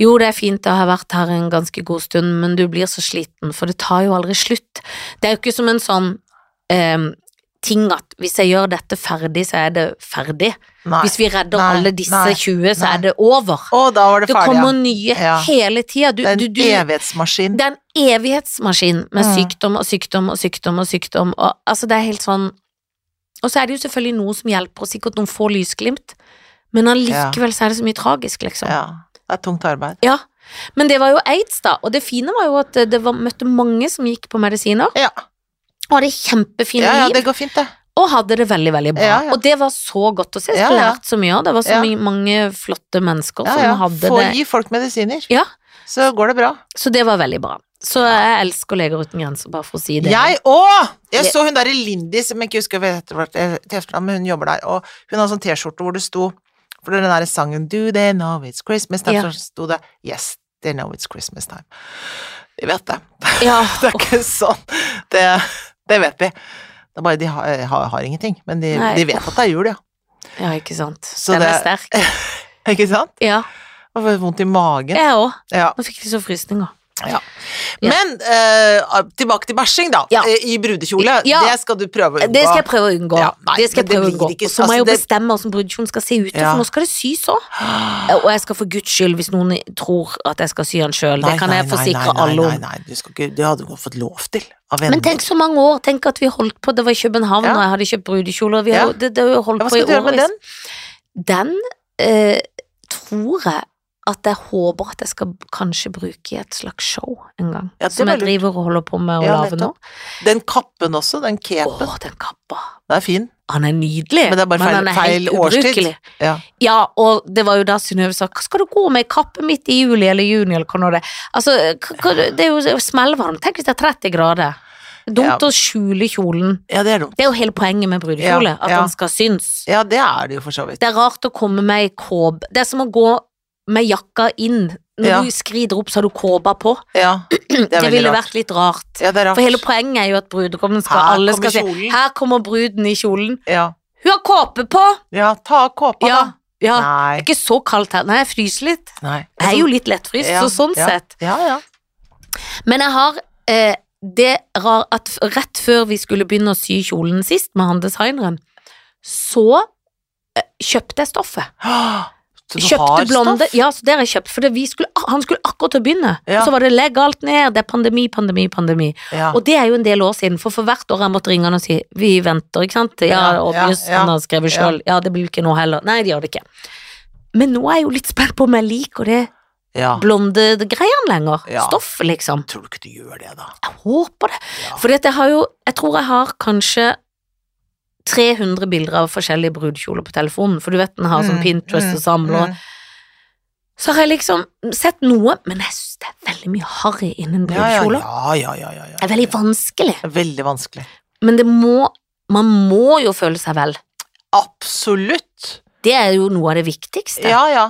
[SPEAKER 2] Jo, det er fint, jeg har vært her en ganske god stund, men du blir så sliten, for det tar jo aldri slutt. Det er jo ikke som en sånn eh, ting at hvis jeg gjør dette ferdig, så er det ferdig.
[SPEAKER 1] Nei.
[SPEAKER 2] Hvis vi redder
[SPEAKER 1] Nei.
[SPEAKER 2] alle disse
[SPEAKER 1] Nei.
[SPEAKER 2] 20, så
[SPEAKER 1] Nei.
[SPEAKER 2] er det over.
[SPEAKER 1] Å, da var det
[SPEAKER 2] Det
[SPEAKER 1] ferdig, ja.
[SPEAKER 2] kommer nye
[SPEAKER 1] Ja.
[SPEAKER 2] hele tida. Du,
[SPEAKER 1] Det er
[SPEAKER 2] du,
[SPEAKER 1] en
[SPEAKER 2] du,
[SPEAKER 1] evighetsmaskin.
[SPEAKER 2] det er en evighetsmaskin med
[SPEAKER 1] Mm.
[SPEAKER 2] sykdom og sykdom og sykdom og sykdom. Og, altså, det er helt sånn Og så er det jo selvfølgelig noe som hjelper, og sikkert noen få lysglimt, men allikevel så er det så mye tragisk, liksom.
[SPEAKER 1] Ja. Det er tungt arbeid.
[SPEAKER 2] Ja. Men det var jo aids, da, og det fine var jo at det var, møtte mange som gikk på medisiner,
[SPEAKER 1] Ja.
[SPEAKER 2] og hadde kjempefine
[SPEAKER 1] ja, ja,
[SPEAKER 2] liv,
[SPEAKER 1] det går fint, det.
[SPEAKER 2] og hadde det veldig, veldig bra.
[SPEAKER 1] Ja, ja.
[SPEAKER 2] Og det var så godt å se. Jeg
[SPEAKER 1] Ja,
[SPEAKER 2] skulle
[SPEAKER 1] ja.
[SPEAKER 2] lært så mye av det. Det var så
[SPEAKER 1] Ja.
[SPEAKER 2] mye, mange flotte mennesker
[SPEAKER 1] Ja,
[SPEAKER 2] som
[SPEAKER 1] ja.
[SPEAKER 2] hadde
[SPEAKER 1] Få
[SPEAKER 2] det.
[SPEAKER 1] gi folk medisiner,
[SPEAKER 2] Ja.
[SPEAKER 1] så går det bra.
[SPEAKER 2] Så det var veldig bra. Så jeg elsker Leger uten grenser, bare for å si det.
[SPEAKER 1] Jeg òg! Jeg
[SPEAKER 2] Det-
[SPEAKER 1] så hun der i Lindy, som jeg ikke husker hva heter hva til etternavn, men hun jobber der, og hun hadde sånn T-skjorte hvor det sto For den der sangen Do they know it's Christmas time?
[SPEAKER 2] Ja.
[SPEAKER 1] Så sto det Yes, they know it's Christmas time. Vi vet det.
[SPEAKER 2] Ja,
[SPEAKER 1] Det er ikke sånn. Det, det vet vi. Det er bare de har, har, har ingenting, men de,
[SPEAKER 2] Nei.
[SPEAKER 1] de vet at det er jul, ja.
[SPEAKER 2] Ja, ikke sant.
[SPEAKER 1] Så
[SPEAKER 2] Den er
[SPEAKER 1] det-
[SPEAKER 2] sterk.
[SPEAKER 1] Ikke sant?
[SPEAKER 2] Ja,
[SPEAKER 1] Og får vondt i magen.
[SPEAKER 2] jeg òg.
[SPEAKER 1] Ja.
[SPEAKER 2] Nå fikk jeg så frysninger. Ja.
[SPEAKER 1] Men eh, tilbake til bæsjing, da.
[SPEAKER 2] Ja.
[SPEAKER 1] Eh, I brudekjole.
[SPEAKER 2] Ja.
[SPEAKER 1] Det skal du prøve å unngå.
[SPEAKER 2] Det skal jeg prøve å unngå.
[SPEAKER 1] Ja, nei,
[SPEAKER 2] det skal
[SPEAKER 1] men
[SPEAKER 2] jeg
[SPEAKER 1] det
[SPEAKER 2] prøve å
[SPEAKER 1] blir
[SPEAKER 2] unngå.
[SPEAKER 1] ikke-
[SPEAKER 2] Og så må jeg jo
[SPEAKER 1] altså, det-
[SPEAKER 2] bestemme hvordan brudekjolen skal se ut,
[SPEAKER 1] Ja.
[SPEAKER 2] for nå skal det sys òg. Og jeg skal for guds skyld, hvis noen tror at jeg skal sy den sjøl, det
[SPEAKER 1] Nei,
[SPEAKER 2] kan
[SPEAKER 1] nei,
[SPEAKER 2] jeg
[SPEAKER 1] nei,
[SPEAKER 2] forsikre
[SPEAKER 1] nei, nei,
[SPEAKER 2] alle
[SPEAKER 1] Nei,
[SPEAKER 2] om.
[SPEAKER 1] nei, du skal ikke, det hadde du fått lov til av venner.
[SPEAKER 2] Men tenk så mange år, tenk at vi holdt på, det var i København,
[SPEAKER 1] Ja.
[SPEAKER 2] og jeg hadde kjøpt brudekjoler, vi
[SPEAKER 1] Ja.
[SPEAKER 2] har, jo- det, det har vi
[SPEAKER 1] ja,
[SPEAKER 2] holdt
[SPEAKER 1] hva
[SPEAKER 2] på i
[SPEAKER 1] skal du gjøre med
[SPEAKER 2] årevis.
[SPEAKER 1] den?
[SPEAKER 2] Den eh, tror jeg at jeg håper at jeg skal kanskje bruke i et slags show en gang.
[SPEAKER 1] Ja, det
[SPEAKER 2] som
[SPEAKER 1] var
[SPEAKER 2] jeg
[SPEAKER 1] lurt.
[SPEAKER 2] driver og holder på med å
[SPEAKER 1] Ja,
[SPEAKER 2] lage nå.
[SPEAKER 1] nettopp. Den kappen også, den
[SPEAKER 2] Å,
[SPEAKER 1] capen.
[SPEAKER 2] den kappa.
[SPEAKER 1] Den er fin.
[SPEAKER 2] Han er nydelig,
[SPEAKER 1] Men det er bare feil-
[SPEAKER 2] han er helt
[SPEAKER 1] feil årstid.
[SPEAKER 2] ubrukelig.
[SPEAKER 1] Ja.
[SPEAKER 2] Ja, og det var jo da Synnøve sa hva skal du gå med i kappe midt i juli eller juni eller hva nå det er?" Altså, hva- hva- det er jo smellvarmt. Tenk hvis det er 30 grader. Dumt
[SPEAKER 1] Ja.
[SPEAKER 2] å skjule kjolen.
[SPEAKER 1] Ja, det er dumt.
[SPEAKER 2] Det er jo hele poenget med brudekjole,
[SPEAKER 1] Ja,
[SPEAKER 2] at
[SPEAKER 1] ja.
[SPEAKER 2] han skal synes.
[SPEAKER 1] Ja, det er det jo for så vidt.
[SPEAKER 2] Det er rart å komme med i kåp. Det er som å gå med jakka inn. Når
[SPEAKER 1] Ja.
[SPEAKER 2] du skrider opp, så har du kåpa på.
[SPEAKER 1] Ja, det
[SPEAKER 2] Det,
[SPEAKER 1] er veldig
[SPEAKER 2] ville
[SPEAKER 1] rart.
[SPEAKER 2] vært litt rart.
[SPEAKER 1] Ja, det er rart.
[SPEAKER 2] For hele poenget er jo at brudekommen skal
[SPEAKER 1] Her
[SPEAKER 2] alle
[SPEAKER 1] kommer
[SPEAKER 2] skal si
[SPEAKER 1] kjolen.
[SPEAKER 2] Her kommer bruden i kjolen.
[SPEAKER 1] Ja,
[SPEAKER 2] Hun har kåpe på!
[SPEAKER 1] ja ta av kåpa,
[SPEAKER 2] Ja. ja.
[SPEAKER 1] da.
[SPEAKER 2] Det er
[SPEAKER 1] Nei.
[SPEAKER 2] ikke så kaldt her. Nei, jeg fryser litt.
[SPEAKER 1] Nei.
[SPEAKER 2] Jeg er jo litt lettfryst,
[SPEAKER 1] Ja,
[SPEAKER 2] så sånn
[SPEAKER 1] ja.
[SPEAKER 2] sett.
[SPEAKER 1] Ja, ja.
[SPEAKER 2] Men jeg har eh, det rar at f- rett før vi skulle begynne å sy kjolen sist med han designeren, så eh, kjøpte jeg stoffet.
[SPEAKER 1] Åh, Så du har
[SPEAKER 2] Kjøpte
[SPEAKER 1] stoff?
[SPEAKER 2] blonde Ja, så det har jeg kjøpt, for det vi skulle, han skulle akkurat til å begynne.
[SPEAKER 1] Ja.
[SPEAKER 2] Så var det legg alt ned, det er pandemi, pandemi, pandemi.
[SPEAKER 1] Ja.
[SPEAKER 2] Og det er jo en del år siden, for for hvert år har jeg måttet ringe han og si vi venter, ikke sant. Ja,
[SPEAKER 1] Ja, ja,
[SPEAKER 2] obvious,
[SPEAKER 1] ja.
[SPEAKER 2] han har skrevet
[SPEAKER 1] Ja.
[SPEAKER 2] sjøl. Ja, det blir jo ikke nå heller. Nei, det gjør det ikke. Men nå er jeg jo litt spent på om jeg liker det
[SPEAKER 1] ja.
[SPEAKER 2] blonde greiene lenger.
[SPEAKER 1] Ja.
[SPEAKER 2] Stoff, liksom.
[SPEAKER 1] Tror du ikke du gjør det, da?
[SPEAKER 2] Jeg håper det.
[SPEAKER 1] Ja.
[SPEAKER 2] Fordi at jeg har jo Jeg tror jeg har kanskje 300 bilder av forskjellige brudekjoler på telefonen, for du vet den har sånn
[SPEAKER 1] Mm,
[SPEAKER 2] Pinterest
[SPEAKER 1] mm,
[SPEAKER 2] og samler.
[SPEAKER 1] mm.
[SPEAKER 2] Så har jeg liksom sett noe, men jeg syns det er veldig mye harry innen
[SPEAKER 1] Ja, ja,
[SPEAKER 2] brudekjoler.
[SPEAKER 1] ja, ja, ja, ja, ja.
[SPEAKER 2] Det er veldig vanskelig,
[SPEAKER 1] Det er veldig vanskelig.
[SPEAKER 2] men det må Man må jo føle seg vel.
[SPEAKER 1] Absolutt.
[SPEAKER 2] Det er jo noe av det viktigste.
[SPEAKER 1] Ja, ja.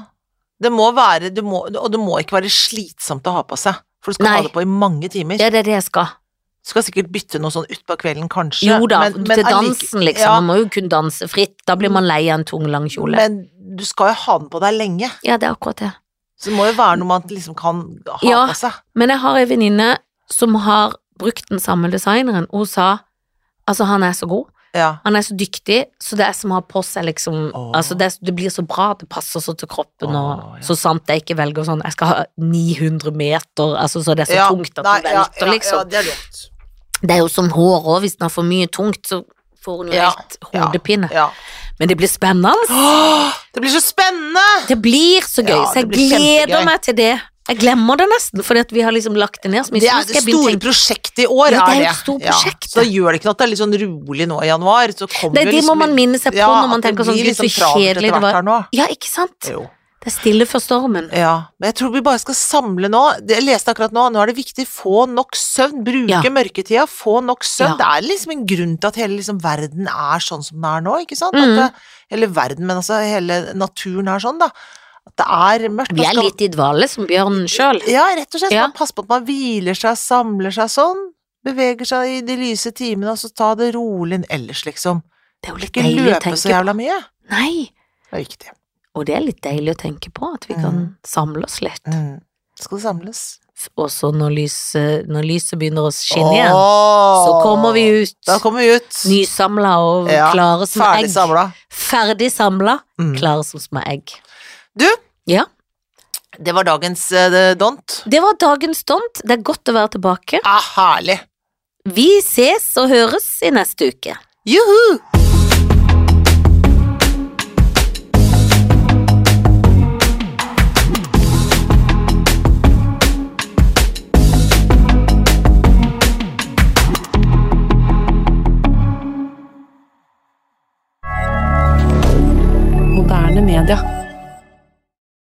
[SPEAKER 1] Det må være, det må, og det må ikke være slitsomt å ha på seg. For du skal
[SPEAKER 2] Nei.
[SPEAKER 1] ha det på i mange timer.
[SPEAKER 2] Ja, det er det jeg skal.
[SPEAKER 1] Du skal sikkert bytte noe sånn utpå kvelden, kanskje.
[SPEAKER 2] Jo da, til
[SPEAKER 1] allike-
[SPEAKER 2] dansen, liksom.
[SPEAKER 1] Ja,
[SPEAKER 2] Man må jo kunne danse fritt. Da blir man lei av en tung, lang kjole.
[SPEAKER 1] men du skal jo ha den på deg lenge,
[SPEAKER 2] Ja, det er akkurat det.
[SPEAKER 1] så det må jo være noe man liksom kan ha
[SPEAKER 2] Ja.
[SPEAKER 1] på seg.
[SPEAKER 2] Men jeg har ei venninne som har brukt den samme designeren, og hun sa Altså, han er så god,
[SPEAKER 1] Ja.
[SPEAKER 2] han er så dyktig, så det er som å ha på seg liksom
[SPEAKER 1] Åh.
[SPEAKER 2] Altså, det, er- det blir så bra, det passer så til kroppen,
[SPEAKER 1] Åh,
[SPEAKER 2] og
[SPEAKER 1] ja.
[SPEAKER 2] så sant jeg ikke velger sånn Jeg skal ha 900 meter, altså, så det er så
[SPEAKER 1] ja.
[SPEAKER 2] tungt at
[SPEAKER 1] Nei,
[SPEAKER 2] det velter,
[SPEAKER 1] ja,
[SPEAKER 2] liksom.
[SPEAKER 1] Ja, ja, det er dumt.
[SPEAKER 2] Det er jo som hår òg, hvis den har for mye tungt, så får hun jo
[SPEAKER 1] Ja,
[SPEAKER 2] helt hodepine.
[SPEAKER 1] Ja.
[SPEAKER 2] Men det blir spennende.
[SPEAKER 1] Åh, det blir så spennende!
[SPEAKER 2] Det blir så gøy,
[SPEAKER 1] Ja,
[SPEAKER 2] så jeg
[SPEAKER 1] det blir
[SPEAKER 2] gleder
[SPEAKER 1] kjempegøy.
[SPEAKER 2] meg til det. Jeg glemmer det nesten, fordi at vi har liksom lagt det ned så mye.
[SPEAKER 1] Det
[SPEAKER 2] så nå
[SPEAKER 1] er
[SPEAKER 2] skal
[SPEAKER 1] det
[SPEAKER 2] jeg begynne å
[SPEAKER 1] store
[SPEAKER 2] tenke-
[SPEAKER 1] prosjektet i år,
[SPEAKER 2] Ja, det er
[SPEAKER 1] er
[SPEAKER 2] jo
[SPEAKER 1] det.
[SPEAKER 2] et stort
[SPEAKER 1] Ja,
[SPEAKER 2] prosjekt,
[SPEAKER 1] Så da gjør det ikke noe at det er litt sånn rolig nå i januar. Så kommer
[SPEAKER 2] Nei,
[SPEAKER 1] jo
[SPEAKER 2] det må
[SPEAKER 1] liksom-
[SPEAKER 2] man minne seg på
[SPEAKER 1] Ja,
[SPEAKER 2] når man
[SPEAKER 1] at det
[SPEAKER 2] tenker sånn
[SPEAKER 1] blir
[SPEAKER 2] Gud, så
[SPEAKER 1] liksom travelt etter
[SPEAKER 2] kjedelig det
[SPEAKER 1] hvert
[SPEAKER 2] var.
[SPEAKER 1] her nå.
[SPEAKER 2] Ja, ikke sant?
[SPEAKER 1] Jo.
[SPEAKER 2] Det er stille før stormen.
[SPEAKER 1] Ja, men jeg tror vi bare skal samle nå. Det- Jeg leste akkurat nå, nå er det viktig få nok søvn. Bruke
[SPEAKER 2] Ja.
[SPEAKER 1] mørketida, få nok søvn.
[SPEAKER 2] Ja.
[SPEAKER 1] Det er liksom en grunn til at hele liksom, verden er sånn som den er nå, ikke sant?
[SPEAKER 2] Mhm.
[SPEAKER 1] At det, hele verden, men altså hele naturen er sånn, da. At det er mørkt.
[SPEAKER 2] Vi
[SPEAKER 1] Man
[SPEAKER 2] er
[SPEAKER 1] skal-
[SPEAKER 2] litt i dvale som bjørnen sjøl.
[SPEAKER 1] Ja, rett og slett.
[SPEAKER 2] Ja.
[SPEAKER 1] Man passer på at man hviler seg, samler seg sånn. Beveger seg i de lyse timene, og så ta det rolig ellers, liksom.
[SPEAKER 2] Det er jo litt
[SPEAKER 1] Ikke
[SPEAKER 2] deilig å
[SPEAKER 1] løpe så
[SPEAKER 2] tenke på.
[SPEAKER 1] jævla mye.
[SPEAKER 2] Nei,
[SPEAKER 1] Det er viktig.
[SPEAKER 2] og det er litt deilig å tenke på at vi
[SPEAKER 1] Mm.
[SPEAKER 2] kan samle oss litt.
[SPEAKER 1] Mm. Skal det samles?
[SPEAKER 2] Og så når lyset, når lyset begynner å skinne igjen,
[SPEAKER 1] Åh!
[SPEAKER 2] så kommer vi ut
[SPEAKER 1] Da kommer vi ut.
[SPEAKER 2] nysamla og
[SPEAKER 1] Ja,
[SPEAKER 2] klare som
[SPEAKER 1] Ferdig
[SPEAKER 2] egg.
[SPEAKER 1] samla.
[SPEAKER 2] Ferdig samla,
[SPEAKER 1] Mm.
[SPEAKER 2] klare som små egg.
[SPEAKER 1] Du?
[SPEAKER 2] Ja.
[SPEAKER 1] Det var dagens eh, dont.
[SPEAKER 2] Det var dagens stunt. Det er godt å være tilbake.
[SPEAKER 1] Ah, herlig.
[SPEAKER 2] Vi ses og høres i neste uke.
[SPEAKER 1] Juhu!
[SPEAKER 3] moderne media.